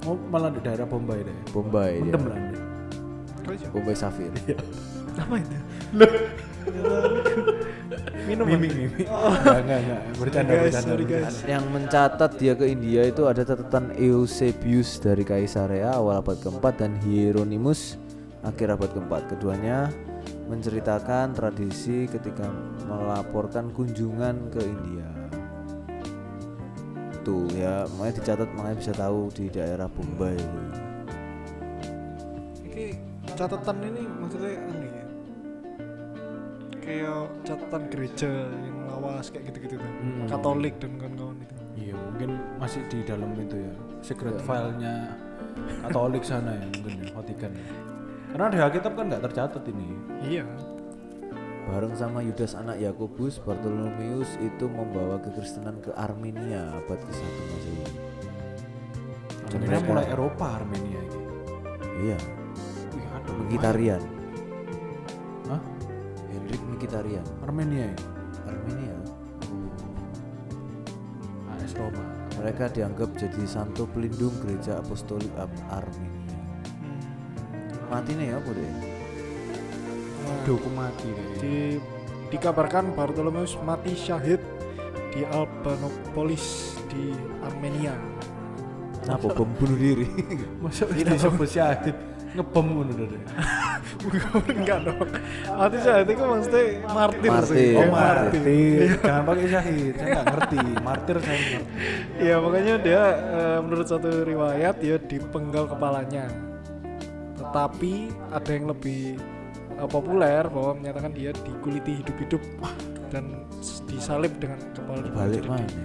Speaker 1: Mau Oh, malah di daerah Bombay deh.
Speaker 2: Bombay dia.
Speaker 1: Mendem lah.
Speaker 3: [LAUGHS]
Speaker 1: Anda.
Speaker 2: Bombay Safir.
Speaker 3: Apa itu? Minum.
Speaker 1: Mimi,
Speaker 3: Mimi.
Speaker 1: mimi. Enggak, enggak, enggak. Bercanda,
Speaker 3: Sorry guys,
Speaker 1: bercanda.
Speaker 3: sorry
Speaker 1: bercanda.
Speaker 3: guys.
Speaker 2: Yang mencatat dia ke India itu ada catatan Eusebius dari Kaisarea awal abad keempat dan Hieronymus akhir abad keempat. Keduanya menceritakan tradisi ketika melaporkan kunjungan ke India. Tuh ya, makanya dicatat makanya bisa tahu di daerah Bombay.
Speaker 3: Ini catatan ini maksudnya aneh ya. Kayak catatan gereja yang lawas kayak gitu-gitu tuh. Katolik dan kawan-kawan itu.
Speaker 1: Iya, mungkin masih di dalam itu ya. Secret
Speaker 3: Iya.
Speaker 1: file-nya Katolik sana ya, mungkin ya, Vatikan. ya. Karena di Alkitab kan nggak tercatat ini.
Speaker 3: Iya.
Speaker 2: Bareng sama Yudas anak Yakobus, Bartolomeus itu membawa kekristenan ke Armenia abad ke-1 Masehi.
Speaker 1: Armenia mulai Eropa Armenia ini.
Speaker 2: Iya,
Speaker 1: Wih, aduh.
Speaker 2: Mkhitaryan.
Speaker 1: Hah?
Speaker 2: Hendrik Mkhitaryan,
Speaker 1: Armenia ya?
Speaker 2: Armenia.
Speaker 1: AS Roma.
Speaker 2: Mereka dianggap jadi santo pelindung gereja apostolik Ab- Armenia. Mati nih ya, Bude.
Speaker 3: Nah,
Speaker 1: Aduh, aku mati deh.
Speaker 3: di, dikabarkan Bartolomeus mati syahid di Albanopolis di Armenia.
Speaker 2: [LAUGHS] Napa bom bunuh diri?
Speaker 1: Masa ini sebut syahid? Ngebom ngono deh.
Speaker 3: Enggak dong. Mati syahid itu maksudnya martir, sih.
Speaker 2: Martir.
Speaker 1: Oh,
Speaker 2: Iya,
Speaker 1: martir. Jangan pakai syahid. Saya nggak ngerti. Martir saya nggak ngerti.
Speaker 3: Iya makanya dia eh, menurut satu riwayat dia dipenggal kepalanya. Tetapi ada yang lebih eh, populer bahwa menyatakan dia dikuliti hidup-hidup dan s- disalib dengan kepala
Speaker 2: Balik ya?
Speaker 3: Jadi
Speaker 2: mana?
Speaker 3: di-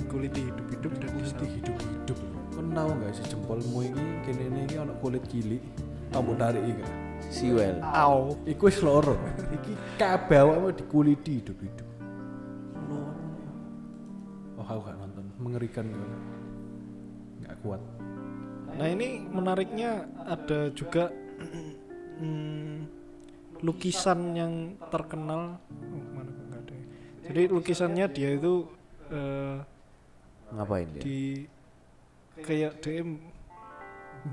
Speaker 3: dikuliti hidup-hidup dan disalib.
Speaker 1: hidup-hidup kan tau gak sih jempolmu ini kini ini ini ada kulit gili tambah tarik ini
Speaker 2: Siwel.
Speaker 3: Au.
Speaker 1: iku wis loro iki kabeh awakmu dikuliti hidup-hidup oh aku gak nonton mengerikan gitu gak kuat
Speaker 3: Nah ini menariknya ada juga [CLEARS THROAT] mm, lukisan yang terkenal. Oh, mana kok nggak ada ya. Jadi lukisannya dia itu eh,
Speaker 2: Ngapain dia?
Speaker 3: di kayak dia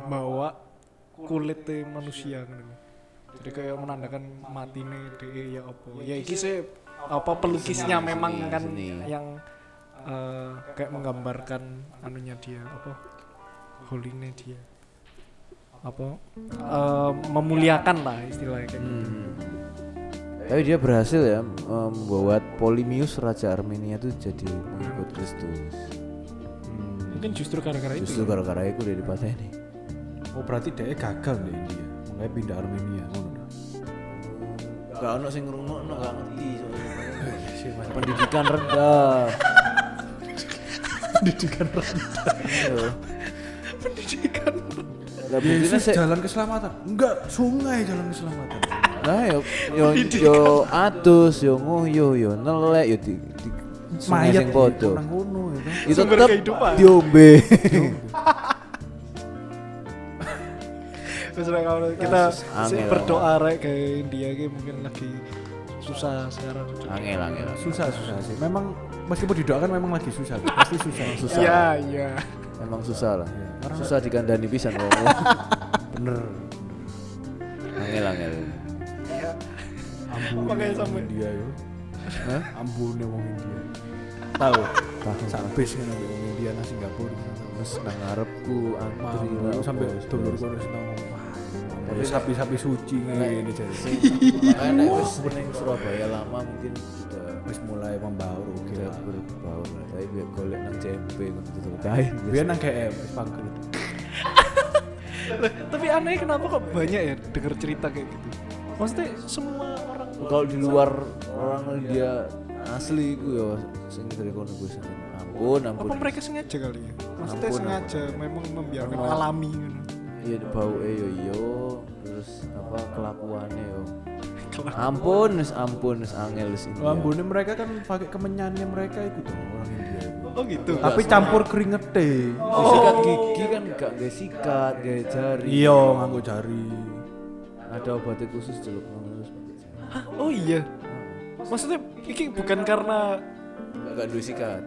Speaker 3: bawa kulit manusia gitu. jadi kayak menandakan mati nih dia ya apa ya iki sih apa pelukisnya memang
Speaker 2: seni,
Speaker 3: kan
Speaker 2: seni.
Speaker 3: yang eh, kayak menggambarkan anunya dia apa holine dia apa eh, memuliakan lah istilahnya kayak gitu.
Speaker 2: Tapi dia berhasil ya em, membuat Polimius Raja Armenia itu jadi mengikut Kristus.
Speaker 3: mungkin justru gara-gara
Speaker 2: Hmm.
Speaker 3: itu ya.
Speaker 2: Justru gara-gara itu ya? dia dipateni.
Speaker 1: oh berarti dia gagal di India makanya pindah Armenia ngono
Speaker 2: Gak ono sing ngrungokno gak ngerti soalnya.
Speaker 1: Sih, Mas.
Speaker 2: Pendidikan rendah.
Speaker 1: [LAUGHS] pendidikan rendah.
Speaker 3: pendidikan
Speaker 2: Iya. Lah buktinya
Speaker 1: Yesus
Speaker 2: sih
Speaker 1: jalan keselamatan. Enggak, sungai jalan keselamatan.
Speaker 2: nah yo yo yo atus yo nguyuh yo nelek yo di, di sungai sing podo.
Speaker 1: nang ngono ya kan.
Speaker 2: Itu
Speaker 3: Sumber
Speaker 2: tetep
Speaker 3: kehidupan.
Speaker 1: [LAUGHS]
Speaker 2: diombe.
Speaker 3: Wes lah, kalau kita
Speaker 2: angel.
Speaker 3: berdoa rek ke India ki mungkin lagi susah sekarang
Speaker 2: Angel angel.
Speaker 1: Susah susah sih. Memang meskipun didoakan memang lagi susah. Pasti [LAUGHS] susah.
Speaker 2: Susah.
Speaker 3: Iya iya.
Speaker 2: Emang susah lah. Susah dikandani
Speaker 1: [LAUGHS]
Speaker 2: pisan wong.
Speaker 1: Iya, Bener.
Speaker 2: Angel angel.
Speaker 1: Ambune
Speaker 3: Makanya
Speaker 1: wong
Speaker 3: sampe-
Speaker 1: India yo. Hah? Ambune wong India. Tahu. Sampai sih nang wong India nang Singapura.
Speaker 2: Wes nang ngarepku antri lah,
Speaker 1: Mau sampai
Speaker 2: bos,
Speaker 1: dulur
Speaker 2: bos.
Speaker 1: kono sing ngomong. "Wah, ada sapi-sapi suci ngene jadi.
Speaker 2: [LAUGHS] Makanya nek wis ning Surabaya lama mungkin sudah
Speaker 1: Wis mulai membaur.
Speaker 2: kita berbaur lah. Tapi biar golek nang CMP ngono tutul kain.
Speaker 1: Biar nang GM wis bangkrut.
Speaker 3: Lah, Tapi aneh kenapa kok banyak ya denger cerita kayak gitu. Maksudnya semua orang
Speaker 2: kalau di luar orang dia asli gue ya sing dari kono gue sing ampun ampun
Speaker 3: apa mereka sengaja kali ya? Maksudnya sengaja memang membiarkan
Speaker 2: Memang.
Speaker 3: alami gitu.
Speaker 2: iya bau yo yo terus apa kelakuannya yo
Speaker 3: Kelak-
Speaker 2: ampun wis ampun wis angel wis ini
Speaker 1: Lah ambune mereka kan pakai kemenyannya mereka itu tuh orang India. Iya,
Speaker 3: Oh gitu.
Speaker 1: Tapi campur keringet deh.
Speaker 2: sikat gigi kan gak gak sikat gak jari
Speaker 1: Iya, nganggo jari.
Speaker 2: ada obatnya khusus celuk terus pakai jari.
Speaker 3: Hah? Oh iya. Maksudnya iki bukan karena
Speaker 2: gak gak duwe sikat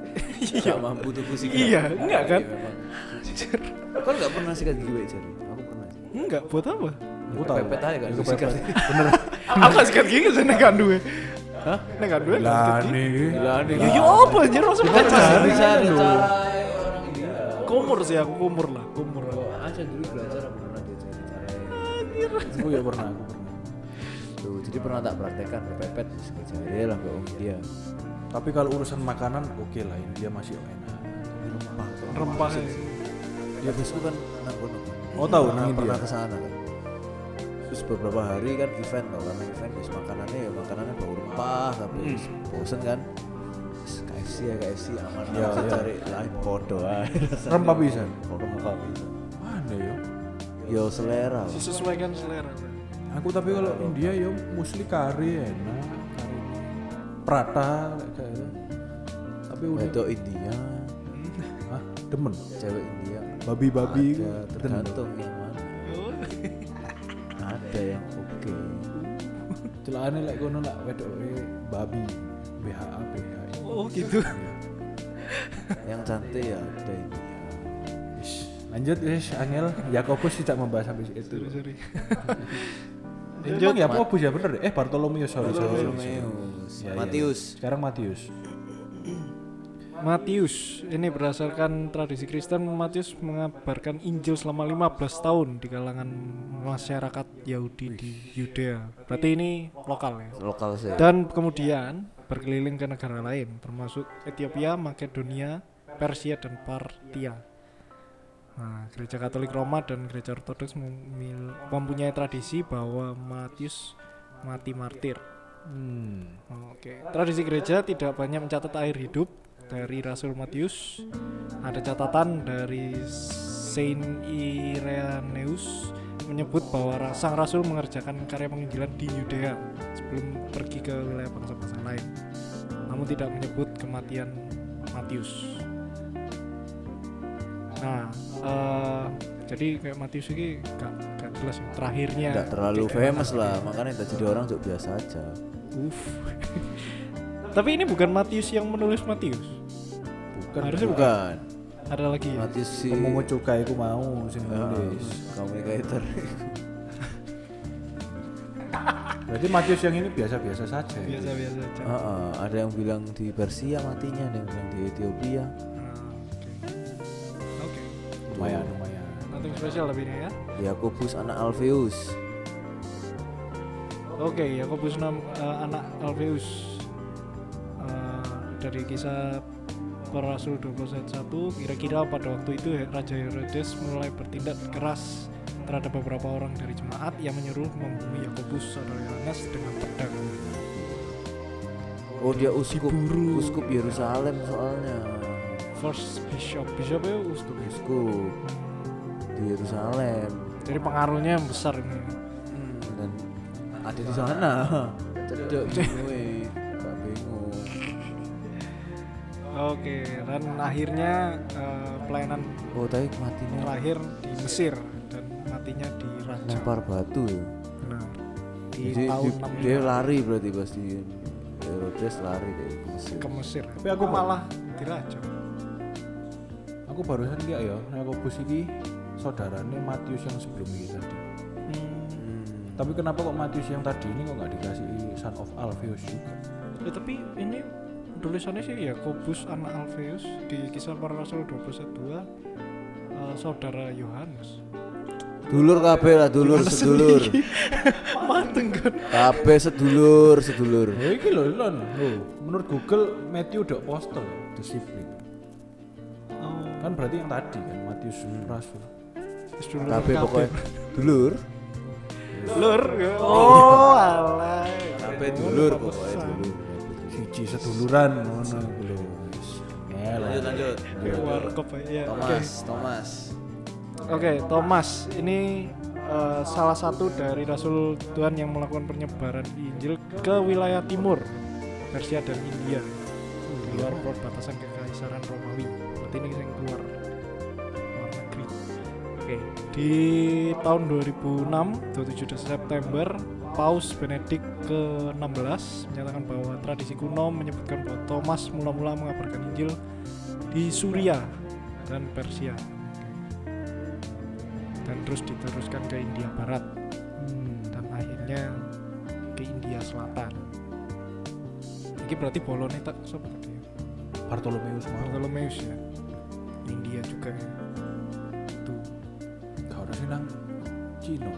Speaker 2: gak mampu tuku sikat
Speaker 3: Iya, enggak kan?
Speaker 2: Iya, memang. kan gak pernah sikat gigi pakai jari aku pernah
Speaker 3: enggak buat [LAUGHS] apa?
Speaker 1: Aku tahu.
Speaker 2: Kepepet aja kan
Speaker 1: Aku
Speaker 2: sikat
Speaker 1: kepepet.
Speaker 3: Aku gak sikat gigi sih nek kanduwe.
Speaker 2: Hah?
Speaker 3: Nek kanduwe gak sikat
Speaker 1: Lah
Speaker 3: gigi.
Speaker 1: nih.
Speaker 2: gila nih
Speaker 3: Ya yo apa anjir maksudnya gak
Speaker 2: Cara-
Speaker 3: sikat
Speaker 2: cara-
Speaker 3: gigi?
Speaker 2: cara-
Speaker 3: Kumur sih aku kumur lah, kumur.
Speaker 2: aja dulu Ah, belajar aku pernah diajari cara
Speaker 1: Aku ya pernah, aku pernah.
Speaker 2: Tuh, jadi pernah tak praktekkan kepepet sekejari lah ke om dia
Speaker 1: Tapi kalau urusan makanan oke lah India masih enak. Rempah.
Speaker 3: Rempah.
Speaker 2: ya besok kan nang kono kan.
Speaker 1: Oh, tahu, nang India.
Speaker 2: pernah ke sana kan terus beberapa hari kan event tau karena event terus makanannya ya makanannya bau rempah tapi terus
Speaker 1: Hmm.
Speaker 2: bosen kan Terus KFC ya KFC aman ya, cari lain podo aja
Speaker 1: Rempah pisan.
Speaker 2: podo rempah bisa
Speaker 1: Mana ya?
Speaker 2: yo selera lah.
Speaker 3: Disesuaikan selera. Bang.
Speaker 1: Aku tapi kalau India ya musli kari enak. Kari prata kayak gitu. Tapi udah
Speaker 2: wedok India
Speaker 1: ah, demen.
Speaker 2: cewek India
Speaker 1: Babi-babi itu
Speaker 2: ada tergantung yang mana ada yang oke
Speaker 1: celakane lek kono lek wedok e babi BHA BHA.
Speaker 3: Oh gitu.
Speaker 2: yang cantik ya ada ini
Speaker 1: Ish, Lanjut wis Angel, Yakobus tidak membahas sampai itu.
Speaker 3: Sorry,
Speaker 1: [LAUGHS]
Speaker 3: sorry.
Speaker 1: Emang Yakobus ya bener deh. Eh Bartolomeus sorry sorry. sorry.
Speaker 2: Matius
Speaker 1: Ya, ya, ya.
Speaker 2: Matius
Speaker 1: Sekarang Matius.
Speaker 3: Matius, ini berdasarkan tradisi Kristen, Matius mengabarkan Injil selama 15 tahun di kalangan masyarakat Yahudi di Yudea. Berarti ini lokal ya.
Speaker 2: lokal sih
Speaker 3: Dan kemudian berkeliling ke negara lain, termasuk Ethiopia, Makedonia, Persia, dan Partia. Nah, gereja Katolik Roma dan gereja Ortodoks memil- mempunyai tradisi bahwa Matius mati martir.
Speaker 1: Hmm.
Speaker 3: Oke. Tradisi gereja tidak banyak mencatat air hidup dari Rasul Matius. Ada catatan dari Saint Irenaeus menyebut bahwa ra- sang rasul mengerjakan karya penginjilan di Yudea sebelum pergi ke wilayah bangsa-bangsa lain. Namun tidak menyebut kematian Matius. Nah, eh, jadi kayak Matius ini gak, gak jelas ya, terakhirnya.
Speaker 2: tidak terlalu
Speaker 3: kayak
Speaker 2: famous lah Iya. makanya kita jadi orang juga biasa aja
Speaker 3: Uff. [LAUGHS] Tapi ini bukan Matius yang menulis Matius.
Speaker 1: Bukan
Speaker 3: Harusnya bukan.
Speaker 2: bukan Iya.
Speaker 3: Ada lagi ya.
Speaker 2: Matius sih
Speaker 1: Pemungut cukai ku mau sing
Speaker 2: Ah,
Speaker 1: nulis.
Speaker 2: komunikator
Speaker 1: Berarti Matius yang ini biasa-biasa saja. ya?
Speaker 3: Biasa-biasa aja.
Speaker 2: Heeh, ada yang bilang di Persia matinya ada yang bilang di Ethiopia
Speaker 3: Ah, Oke. Oke.
Speaker 1: Lumayan, lumayan.
Speaker 3: Nothing special tapi ini ya.
Speaker 2: Yakobus anak Alfeus
Speaker 3: Oke, Yakobus nam- eh, anak Alfeus Eh, dari kisah Rasul 12 ayat 1 kira-kira pada waktu itu He- Raja Herodes mulai bertindak keras terhadap beberapa orang dari jemaat yang menyuruh membunuh Yakobus saudara Yohanes dengan pedang.
Speaker 2: oh dia uskup uskup Yerusalem soalnya
Speaker 3: first bishop bishop itu uskup ya?
Speaker 2: uskup di Yerusalem
Speaker 3: jadi pengaruhnya yang besar ini
Speaker 2: dan ada di sana Hmm. cedek e, gue gak bingung
Speaker 3: oke dan akhirnya eh, pelayanan
Speaker 2: oh tapi matinya
Speaker 3: lahir di Mesir dan matinya di Raja
Speaker 2: lempar batu ya
Speaker 3: Benar. di
Speaker 2: Jadi
Speaker 3: tahun
Speaker 2: di-
Speaker 3: 65
Speaker 2: Iya, dia lari berarti pas di Herodes lari gitu. dari Mesir
Speaker 3: ke Mesir Nah,
Speaker 1: Tapi aku
Speaker 3: malah dirajam
Speaker 1: Aku barusan dia ya, Yakobus ini saudaranya Matius yang sebelum ini tadi.
Speaker 3: hmm.
Speaker 2: Hmm.
Speaker 1: Tapi kenapa kok Matius yang tadi ini kok nggak dikasih Son of Alpheus juga?
Speaker 3: ya, tapi ini tulisannya sih Yakobus anak Alfeus di kisah para rasul 21 eh, saudara [LAUGHS] Yohanes
Speaker 2: dulur kabeh lah dulur sedulur
Speaker 3: mateng kan
Speaker 2: kabeh sedulur sedulur
Speaker 1: Oh iki lho Lon. Oh, menurut Google Matthew dok apostle the sibling.
Speaker 3: oh,
Speaker 1: Kan berarti yang tadi kan Matius Rasul.
Speaker 3: terus dulu
Speaker 2: kabeh
Speaker 3: kabeh.
Speaker 2: pokoknya dulur
Speaker 3: lur
Speaker 2: [LAUGHS]
Speaker 3: oh alay
Speaker 2: kabeh dulur pokoknya dulur
Speaker 1: Siji seduluran ngono iku lho. Wis.
Speaker 2: Eh,
Speaker 1: Iya,
Speaker 2: lanjut lanjut
Speaker 3: warkop ya oke
Speaker 2: Thomas Thomas
Speaker 3: Oke, Thomas ini eh, salah satu dari Rasul Tuhan yang melakukan penyebaran Injil ke wilayah timur Persia dan India di luar perbatasan kekaisaran Romawi. Berarti ini yang keluar luar negeri. Oke, di tahun 2006, 27 September, Paus Benedikt ke-16 menyatakan bahwa tradisi kuno menyebutkan bahwa Thomas mula-mula mengabarkan Injil di Suriah dan Persia dan terus diteruskan ke India Barat
Speaker 1: Hmm,
Speaker 3: dan akhirnya ke India Selatan. Ini berarti Bolone tak sobat tadi ya?
Speaker 1: Bartolomeus mau.
Speaker 3: Bartholomeus ya. India juga ya. Tuh.
Speaker 1: Gak ora sih nang Cina.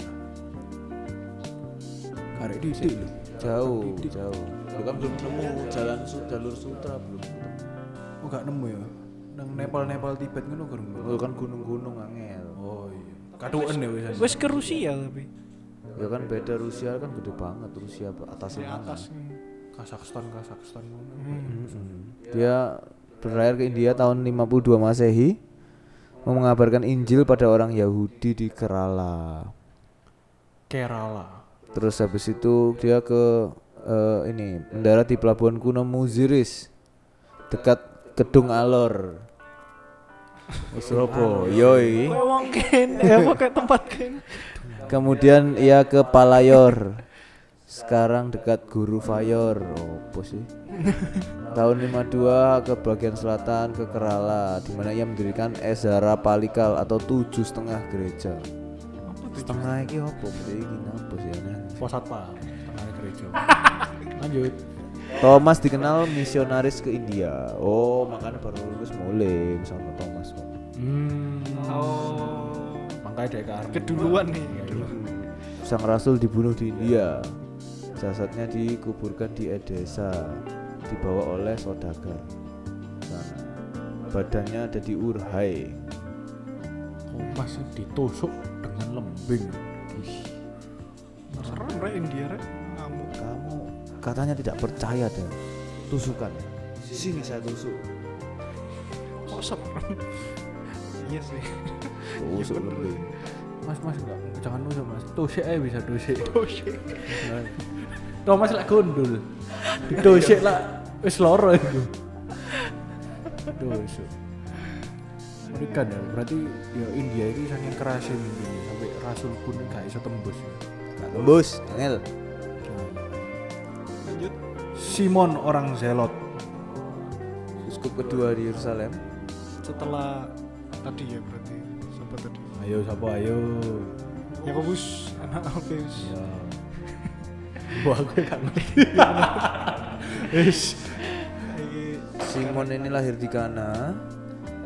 Speaker 1: Karek dhisik lho.
Speaker 2: jauh jauh bukan kan belum nemu jalan su- jalur sutra belum
Speaker 1: Oh gak nemu ya. Nang Nepal-Nepal Tibet ngono gurung.
Speaker 2: Oh, kan gunung-gunung angel
Speaker 1: Oh iya. Katuan ya wis.
Speaker 3: Wes ke Rusia tapi
Speaker 2: ya kan beda Rusia kan gede banget Rusia
Speaker 3: di
Speaker 2: atasnya
Speaker 3: atas.
Speaker 1: Kazakhstan, Kazakhstan ngono.
Speaker 2: Dia berlayar ke India tahun 52 Masehi mau mengabarkan Injil pada orang Yahudi di Kerala.
Speaker 1: Kerala.
Speaker 2: Terus habis itu dia ke eh, ini mendarat di pelabuhan kuno Muziris dekat Kedung Alor. Surabaya. iki.
Speaker 3: Kayak wong kene, ya apa kayak tempat kene.
Speaker 2: Kemudian ia ke Palayor. Sekarang dekat Guru Fayor. Opo sih? [LAUGHS] Tahun 52 ke bagian selatan ke Kerala di mana ia mendirikan Ezara Palikal atau tujuh setengah gereja. Setengah iki opo? Berarti iki napa sih aneh.
Speaker 1: Posatpa, tengah [LAUGHS] gereja. Lanjut.
Speaker 2: Thomas dikenal misionaris ke India. Oh, makanya baru lulus mulai sama Thomas.
Speaker 3: Oh,
Speaker 1: Makanya dari ke Army.
Speaker 3: keduluan nih, keduluan.
Speaker 2: Sang Rasul dibunuh di India. Jasadnya dikuburkan di Edesa, dibawa oleh saudagar. Sana. Badannya ada di Urhai.
Speaker 1: Kompas itu Oh, ditusuk dengan lembing.
Speaker 3: Serem rek India rek. Ngamuk.
Speaker 2: Kamu katanya tidak percaya dan tusukan. Sini saya tusuk.
Speaker 3: Kok serem? Iya sih.
Speaker 2: Tusuk lebih.
Speaker 1: Mas, mas enggak, jangan tusuk mas. Tusuk aja bisa tusuk.
Speaker 3: Oh shit.
Speaker 1: Thomas lah gundul. Tusuk lah, wis loro itu. Tusuk. Menikan ya, berarti ya India ini saking kerasnya mimpinya sampai Rasul pun gak bisa tembus.
Speaker 2: Gak tembus, Angel.
Speaker 3: Lanjut.
Speaker 1: Simon orang Zelot.
Speaker 2: Uskup kedua di Yerusalem.
Speaker 3: Setelah tadi ya berarti. Sobat tadi.
Speaker 1: Ayo sapa ayo.
Speaker 3: Yakobus anak Alfeus.
Speaker 1: Ya. Wah, gue gak ngerti. Wis.
Speaker 3: Iki
Speaker 2: Simon ini lahir di Kana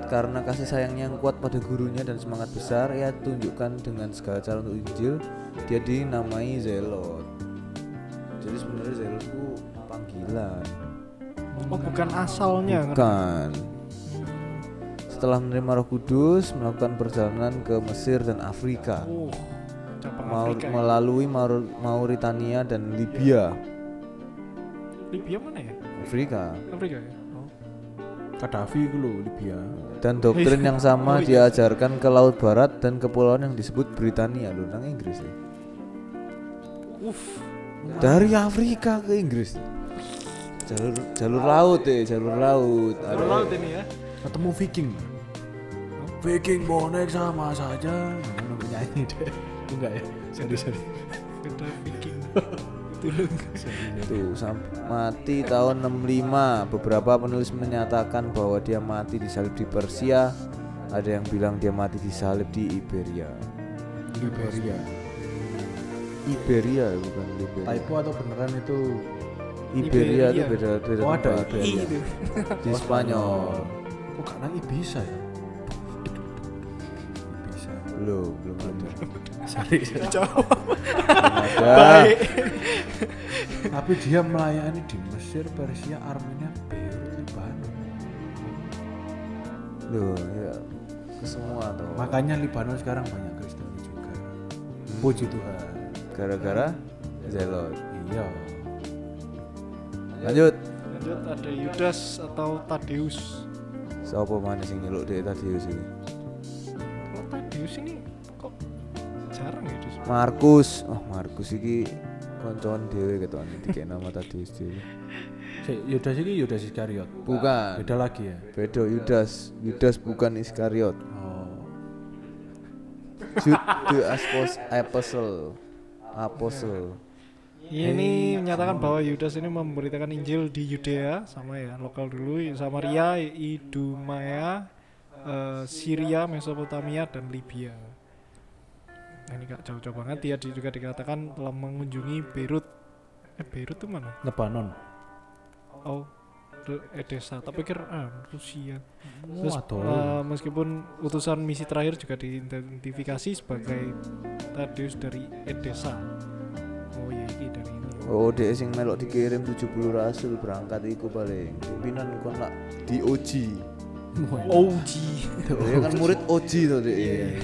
Speaker 2: karena kasih sayangnya yang kuat pada gurunya dan semangat besar ia tunjukkan dengan segala cara untuk Injil dia dinamai Zelot jadi sebenarnya Zelot itu panggilan
Speaker 3: Oh bukan asalnya ngerti.
Speaker 2: bukan setelah menerima Roh Kudus melakukan perjalanan ke Mesir dan Afrika
Speaker 3: Oh, cabang
Speaker 2: Mau-
Speaker 3: Afrika. ya.
Speaker 2: melalui Maur- Mauritania dan Libya
Speaker 3: Libya mana ya?
Speaker 2: Afrika
Speaker 3: Afrika ya. Oh.
Speaker 1: Kadafi itu loh Libya.
Speaker 2: Dan doktrin yang
Speaker 3: [LAUGHS]
Speaker 2: sama diajarkan ke Laut Barat dan kepulauan yang disebut Britania loh, nang Inggris ya.
Speaker 3: Uff.
Speaker 2: Dari Afrika ke Inggris. Jalur jalur laut ya, jalur laut.
Speaker 3: Baru
Speaker 2: Ada-
Speaker 3: laut ini ya.
Speaker 1: Ketemu Viking. Viking bonek sama saja. Ngono nyanyi deh. Enggak ya. Sorry sorry.
Speaker 3: Beda Viking. Tulung.
Speaker 2: Tuh, sam- mati tahun 65. Beberapa penulis menyatakan bahwa dia mati disalib di Persia. Ada yang bilang dia mati disalib di Iberia.
Speaker 1: Liberia.
Speaker 2: Iberia ya, bukan Liberia.
Speaker 1: Typo atau beneran itu
Speaker 2: Iberia itu
Speaker 3: Iberia.
Speaker 2: beda beda
Speaker 1: Oh, ada
Speaker 2: tempat. Iya.
Speaker 1: Iberia.
Speaker 3: Gitu.
Speaker 2: di Spanyol.
Speaker 1: Kok gak nangi bisa ya? Bisa.
Speaker 2: Belum, belum ada.
Speaker 1: Sorry. sorry.
Speaker 2: Ada.
Speaker 1: Tapi dia melayani di Mesir, Persia, Armenia, Beirut, Libanon.
Speaker 2: Loh, ya ke semua tuh.
Speaker 1: Makanya Libanon sekarang banyak Kristen juga. Puji Tuhan.
Speaker 2: Gara-gara Zelot.
Speaker 1: Iya.
Speaker 2: Lanjut.
Speaker 3: Lanjut ada Yudas atau Tadeus.
Speaker 2: Siapa mana sing nyeluk dek tadi sini?
Speaker 3: Kalau Tadeus ini kok jarang ya di
Speaker 2: Markus. Oh, Markus iki koncoan dhewe ketone dikek nama tadi dhewe.
Speaker 1: Si, Yudas ini Yudas Iskariot.
Speaker 2: Bukan.
Speaker 1: Beda lagi ya.
Speaker 2: Bedo Yudas. Yudas bukan Iskariot.
Speaker 1: Oh.
Speaker 2: Judas Aspos Apostle. Apostle.
Speaker 3: Ini menyatakan bahwa Yudas ini memberitakan Injil di Yudea sama ya lokal dulu Samaria, Idumaya, eh, Syria, Mesopotamia dan Libya. Nah, ini gak jauh-jauh banget dia di- juga dikatakan telah mengunjungi Beirut. Eh Beirut tuh mana?
Speaker 1: Lebanon.
Speaker 3: Oh, Ru- eh, desa. Tak pikir ah, Rusia.
Speaker 1: Iya.
Speaker 3: Terus,
Speaker 1: Waduh.
Speaker 3: eh, meskipun utusan misi terakhir juga diidentifikasi sebagai Tadeus dari Edesa. Oh ya ini dari ini.
Speaker 2: Oh, dek sing melok dikirim 70 rasul berangkat iku paling. Pimpinan kon lak di [LAUGHS] OG.
Speaker 1: Oh.
Speaker 3: OG.
Speaker 2: Dia kan murid OG tuh dek.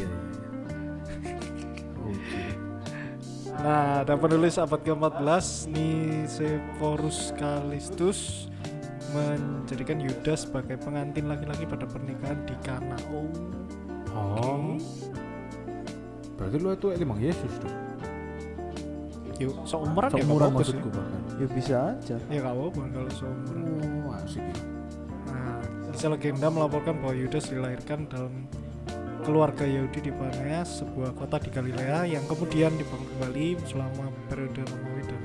Speaker 3: Nah, ada penulis abad ke-14 Nicephorus Callistus menjadikan Yudas sebagai pengantin laki-laki pada pernikahan di Kana. Oh,
Speaker 1: Oh. Berarti lu itu emang Yesus dong.
Speaker 3: yuk seumuran ya
Speaker 1: Seumuran
Speaker 3: nggak apa-apa sih.
Speaker 1: maksudku bahkan.
Speaker 2: Ya bisa aja.
Speaker 3: Ya nggak apa-apa kalau seumuran.
Speaker 1: Oh, asik. ya.
Speaker 3: Nah, kisah legenda melaporkan bahwa Yudas dilahirkan dalam keluarga Yahudi di Paneas, sebuah kota di Galilea yang kemudian dibangun kembali selama periode Romawi dan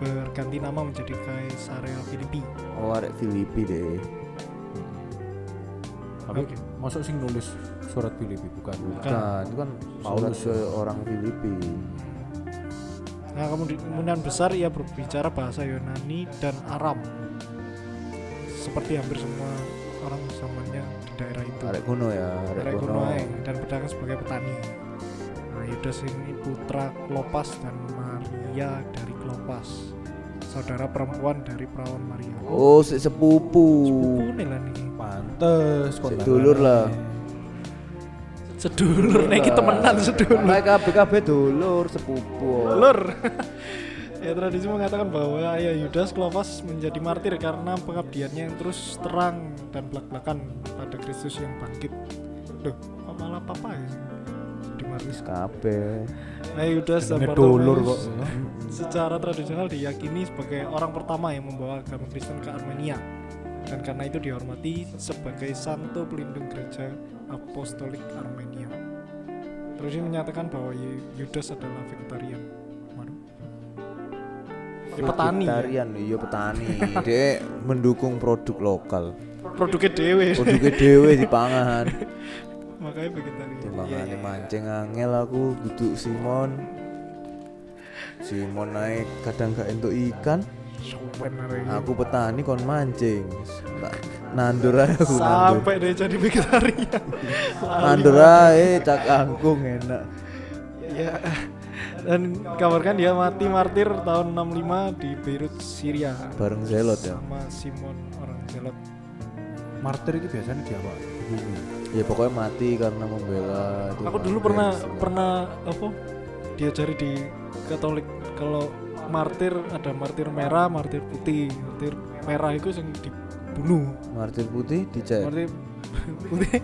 Speaker 3: berganti nama menjadi Kaisarea Filipi.
Speaker 2: Oh, arek Filipi deh.
Speaker 1: Tapi
Speaker 3: Oke.
Speaker 1: masuk sing nulis surat Filipi bukan lu.
Speaker 3: Bukan.
Speaker 2: Kan, itu kan Paulus
Speaker 1: Paulus.
Speaker 2: orang Filipi.
Speaker 3: Nah, kemudi- kemungkinan besar ia berbicara bahasa Yunani dan Aram. Seperti hampir semua orang zamannya di daerah itu.
Speaker 2: Arek kuno ya, arek
Speaker 3: Daerah
Speaker 2: kuno.
Speaker 3: kuno ae, dan pedagang sebagai petani. Nah, Yudas ini putra Klopas dan Maria dari Klopas. Saudara perempuan dari perawan Maria.
Speaker 2: Oh, si sepupu.
Speaker 3: Sepupu nih lah nih.
Speaker 1: Pantes kon
Speaker 2: Sedulur lah.
Speaker 3: Sedulur nih kita temenan
Speaker 2: Iya.
Speaker 3: sedulur.
Speaker 2: Mereka BKB dulur sepupu.
Speaker 3: Lur. [LAUGHS] ya tradisi mengatakan bahwa ayah Yudas Klopas menjadi martir karena pengabdiannya yang terus terang dan belak-belakan pada Kristus yang bangkit. Loh, kok malah papa ya? Jadi martir.
Speaker 2: BKB.
Speaker 3: Ayah Yudas dan
Speaker 1: Ngedulur kok.
Speaker 3: Bartolomeus secara tradisional diyakini sebagai orang pertama yang membawa agama Kristen ke Armenia dan karena itu dihormati sebagai santo pelindung gereja apostolik Armenia. Tradisi menyatakan bahwa Yu- Yudas adalah vegetarian. Waduh. Dia petani. ya.
Speaker 2: Tarian, iya petani. [LAUGHS] Dek mendukung produk lokal.
Speaker 3: Produknya dewe.
Speaker 2: Produknya dewe
Speaker 3: [LAUGHS]
Speaker 2: dipangan.
Speaker 3: Makanya vegetarian. Iya,
Speaker 2: Dipangan
Speaker 3: iya.
Speaker 2: mancing angel aku duduk Simon. Simon naik kadang gak entuk ikan.
Speaker 3: Sopan arahnya.
Speaker 2: Aku petani kon mancing. Tak nandur ae aku. nandur.
Speaker 3: Sampai dia jadi vegetarian. Lali
Speaker 2: Nandur ae cak kangkung enak.
Speaker 3: Ya. Dan kabarkan dia mati martir tahun 65 di Beirut, Syria.
Speaker 2: Bareng zelot ya.
Speaker 3: Sama Simon orang Zelot.
Speaker 1: Martir itu biasanya dia apa? Bumi.
Speaker 2: Ya pokoknya mati karena membela. itu
Speaker 3: Aku
Speaker 2: kan.
Speaker 3: dulu pernah pernah apa? Diajari di Katolik kalau martir ada martir merah, martir putih. Martir merah itu yang di dibunuh.
Speaker 2: Martir putih dicek.
Speaker 3: Martir putih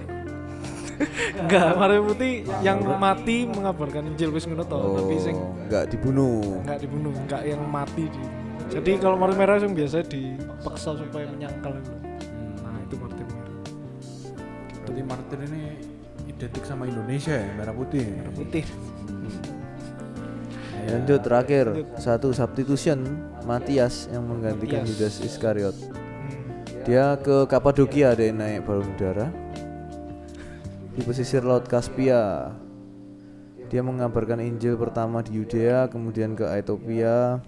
Speaker 3: [LAUGHS] Enggak, Martir putih yang mati mengabarkan Injil wis ngono to,
Speaker 2: Oh,
Speaker 3: tapi sing
Speaker 2: nggak dibunuh.
Speaker 3: enggak dibunuh, enggak yang mati di. Jadi kalau Martir merah yang biasa dipaksa supaya menyangkal gitu.
Speaker 1: Hmm.
Speaker 3: Nah, itu Martir merah.
Speaker 1: Berarti Martin ini identik sama Indonesia ya, merah putih.
Speaker 3: Putih.
Speaker 2: Lanjut terakhir satu substitution Matias yang menggantikan
Speaker 3: Matias.
Speaker 2: Yudas Iskariot.
Speaker 3: Hmm.
Speaker 2: Dia ke Kapadokia deh naik balon udara di pesisir laut Kaspia. Dia mengabarkan Injil pertama di Yudea, kemudian ke Ethiopia,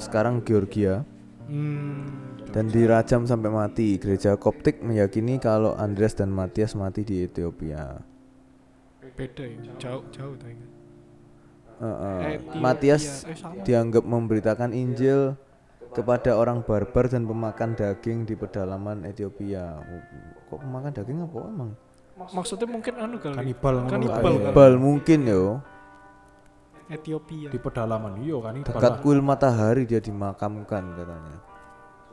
Speaker 2: sekarang Georgia.
Speaker 3: Hmm.
Speaker 2: dan dirajam sampai mati. Gereja Koptik meyakini kalau Andreas dan Matias mati di Ethiopia.
Speaker 3: Beda ya, jauh-jauh
Speaker 2: Eh,
Speaker 3: tuh.
Speaker 2: eh,
Speaker 3: Ethiopia.
Speaker 2: Matias
Speaker 3: Eh, sama.
Speaker 2: dianggap memberitakan Injil kepada orang barbar dan pemakan daging di pedalaman Ethiopia. Oh, Kok pemakan daging apa emang?
Speaker 3: Maksudnya mungkin anu kali.
Speaker 1: Kanibal ngono
Speaker 3: Kanibal.
Speaker 1: kali.
Speaker 3: kali. ya?
Speaker 2: Bal mungkin yo.
Speaker 3: Ethiopia.
Speaker 1: Di pedalaman iya kan ini
Speaker 2: Dekat kuil matahari dia dimakamkan katanya.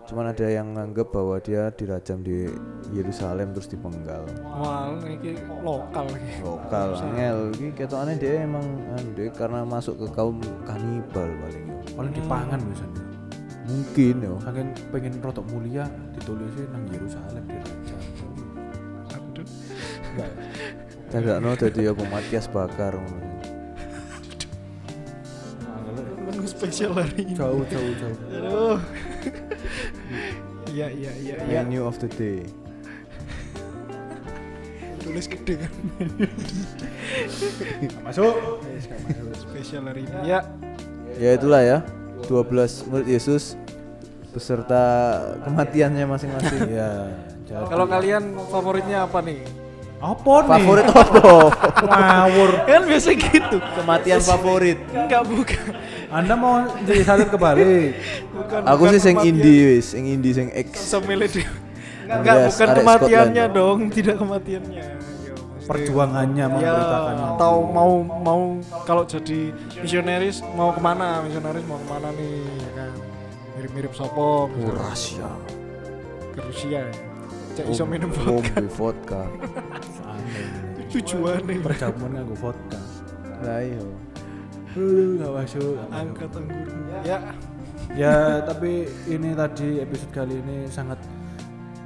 Speaker 2: Cuman ada yang nganggep bahwa dia dirajam di Yerusalem terus dipenggal.
Speaker 3: Wah, ini lokal iki.
Speaker 2: lokal
Speaker 3: Iya.
Speaker 2: angel iki ketokane dia emang anu deh, karena masuk ke kaum kanibal paling
Speaker 1: paling dipangan biasanya.
Speaker 2: mungkin yo
Speaker 1: Saking pengen rotok mulia ditulisnya nang Yerusalem di raja.
Speaker 3: Aduh.
Speaker 2: tidak no jadi apa Matias bakar ngono.
Speaker 3: Menu spesial hari ini.
Speaker 1: Jauh jauh jauh.
Speaker 3: Aduh. Iya iya iya iya.
Speaker 2: menu of the day
Speaker 3: Tulis gede kan.
Speaker 1: Masuk.
Speaker 3: spesial hari ini. Ya.
Speaker 2: ya itulah ya 12 murid Yesus beserta kematiannya [LAUGHS] masing-masing ya
Speaker 1: Jauh.
Speaker 3: Kalau kalian favoritnya apa nih?
Speaker 1: Apa nih?
Speaker 2: favorit opo
Speaker 1: ngawur.
Speaker 3: Kan biasa gitu.
Speaker 2: [LAUGHS] kematian favorit
Speaker 3: Enggak bukan.
Speaker 1: Anda mau jadi salib kebalik.
Speaker 3: Bukan.
Speaker 2: aku
Speaker 3: bukan
Speaker 2: sih sing
Speaker 3: kematian.
Speaker 2: indie wis sing indie sing X
Speaker 3: Semile dia. Enggak,
Speaker 2: Andreas,
Speaker 3: bukan
Speaker 2: arek
Speaker 3: kematiannya
Speaker 2: Scotland.
Speaker 3: dong, tidak kematiannya. Ya, maksudnya-
Speaker 1: Perjuangannya
Speaker 3: Ya,
Speaker 1: memberitakan.
Speaker 3: atau mau mau kalau jadi misionaris mau kemana? Misionaris mau kemana nih? Ya kan mirip-mirip sopo misalnya
Speaker 2: rahasia
Speaker 3: ke Rusia. ya. Cek
Speaker 2: Oh,
Speaker 3: iso minum
Speaker 2: Om
Speaker 3: vodka.
Speaker 2: di vodka
Speaker 1: Aneh.
Speaker 3: Tujuannya
Speaker 1: Perjamuan nganggo vodka.
Speaker 2: lah iya. yo
Speaker 1: Aduh, nggak masuk. nggak masuk.
Speaker 3: angkat anggur. Ya,
Speaker 1: Ya, tapi ini tadi episode kali ini sangat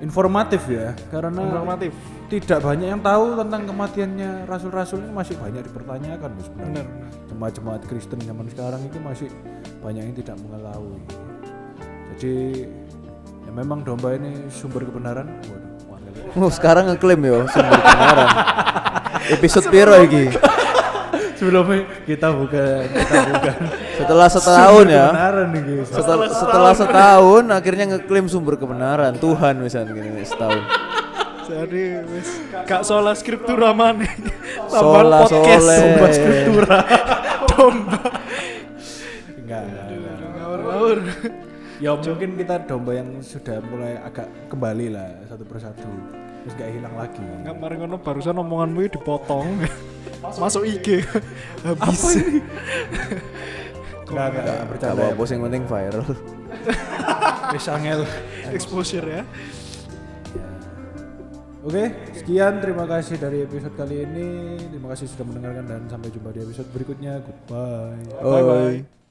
Speaker 1: informatif ya, karena
Speaker 3: normatif.
Speaker 1: tidak banyak yang tahu tentang kematiannya rasul-rasul ini masih banyak dipertanyakan loh sebenarnya.
Speaker 3: Benar, benar.
Speaker 1: Jemaat-jemaat Kristen zaman sekarang itu masih banyak yang tidak mengetahui. Jadi ya memang domba ini sumber kebenaran. Waduh, wah, lele.
Speaker 2: Oh, sekarang ngeklaim yo sumber kebenaran. Episode piro iki?
Speaker 1: Sebelumnya kita bukan kita bukan
Speaker 2: Setelah setahun ya.
Speaker 1: kebenaran nih guys.
Speaker 2: Setelah, setelah setahun akhirnya ngeklaim sumber kebenaran Tuhan misalnya gini setahun.
Speaker 3: Jadi wis Kak Sola Scriptura mana?
Speaker 2: Sola
Speaker 3: Tambahan podcast.
Speaker 2: sole.
Speaker 3: Domba [LAUGHS] Scriptura. Domba.
Speaker 1: Enggak, enggak, enggak.
Speaker 3: Ngawur-ngawur.
Speaker 1: Ya mungkin kita domba yang sudah mulai agak kembali lah satu persatu. Terus gak hilang lagi.
Speaker 3: Nggak mari ngono barusan omonganmu itu dipotong. Masuk IG. Habis.
Speaker 1: Enggak, enggak, enggak
Speaker 2: Gak
Speaker 1: bercanda.
Speaker 2: apa-apa sing penting viral.
Speaker 1: Wis angel.
Speaker 3: Exposure ya.
Speaker 1: Oke, sekian terima kasih dari episode kali ini. Terima kasih sudah mendengarkan dan sampai jumpa di episode berikutnya. Goodbye.
Speaker 2: Bye bye.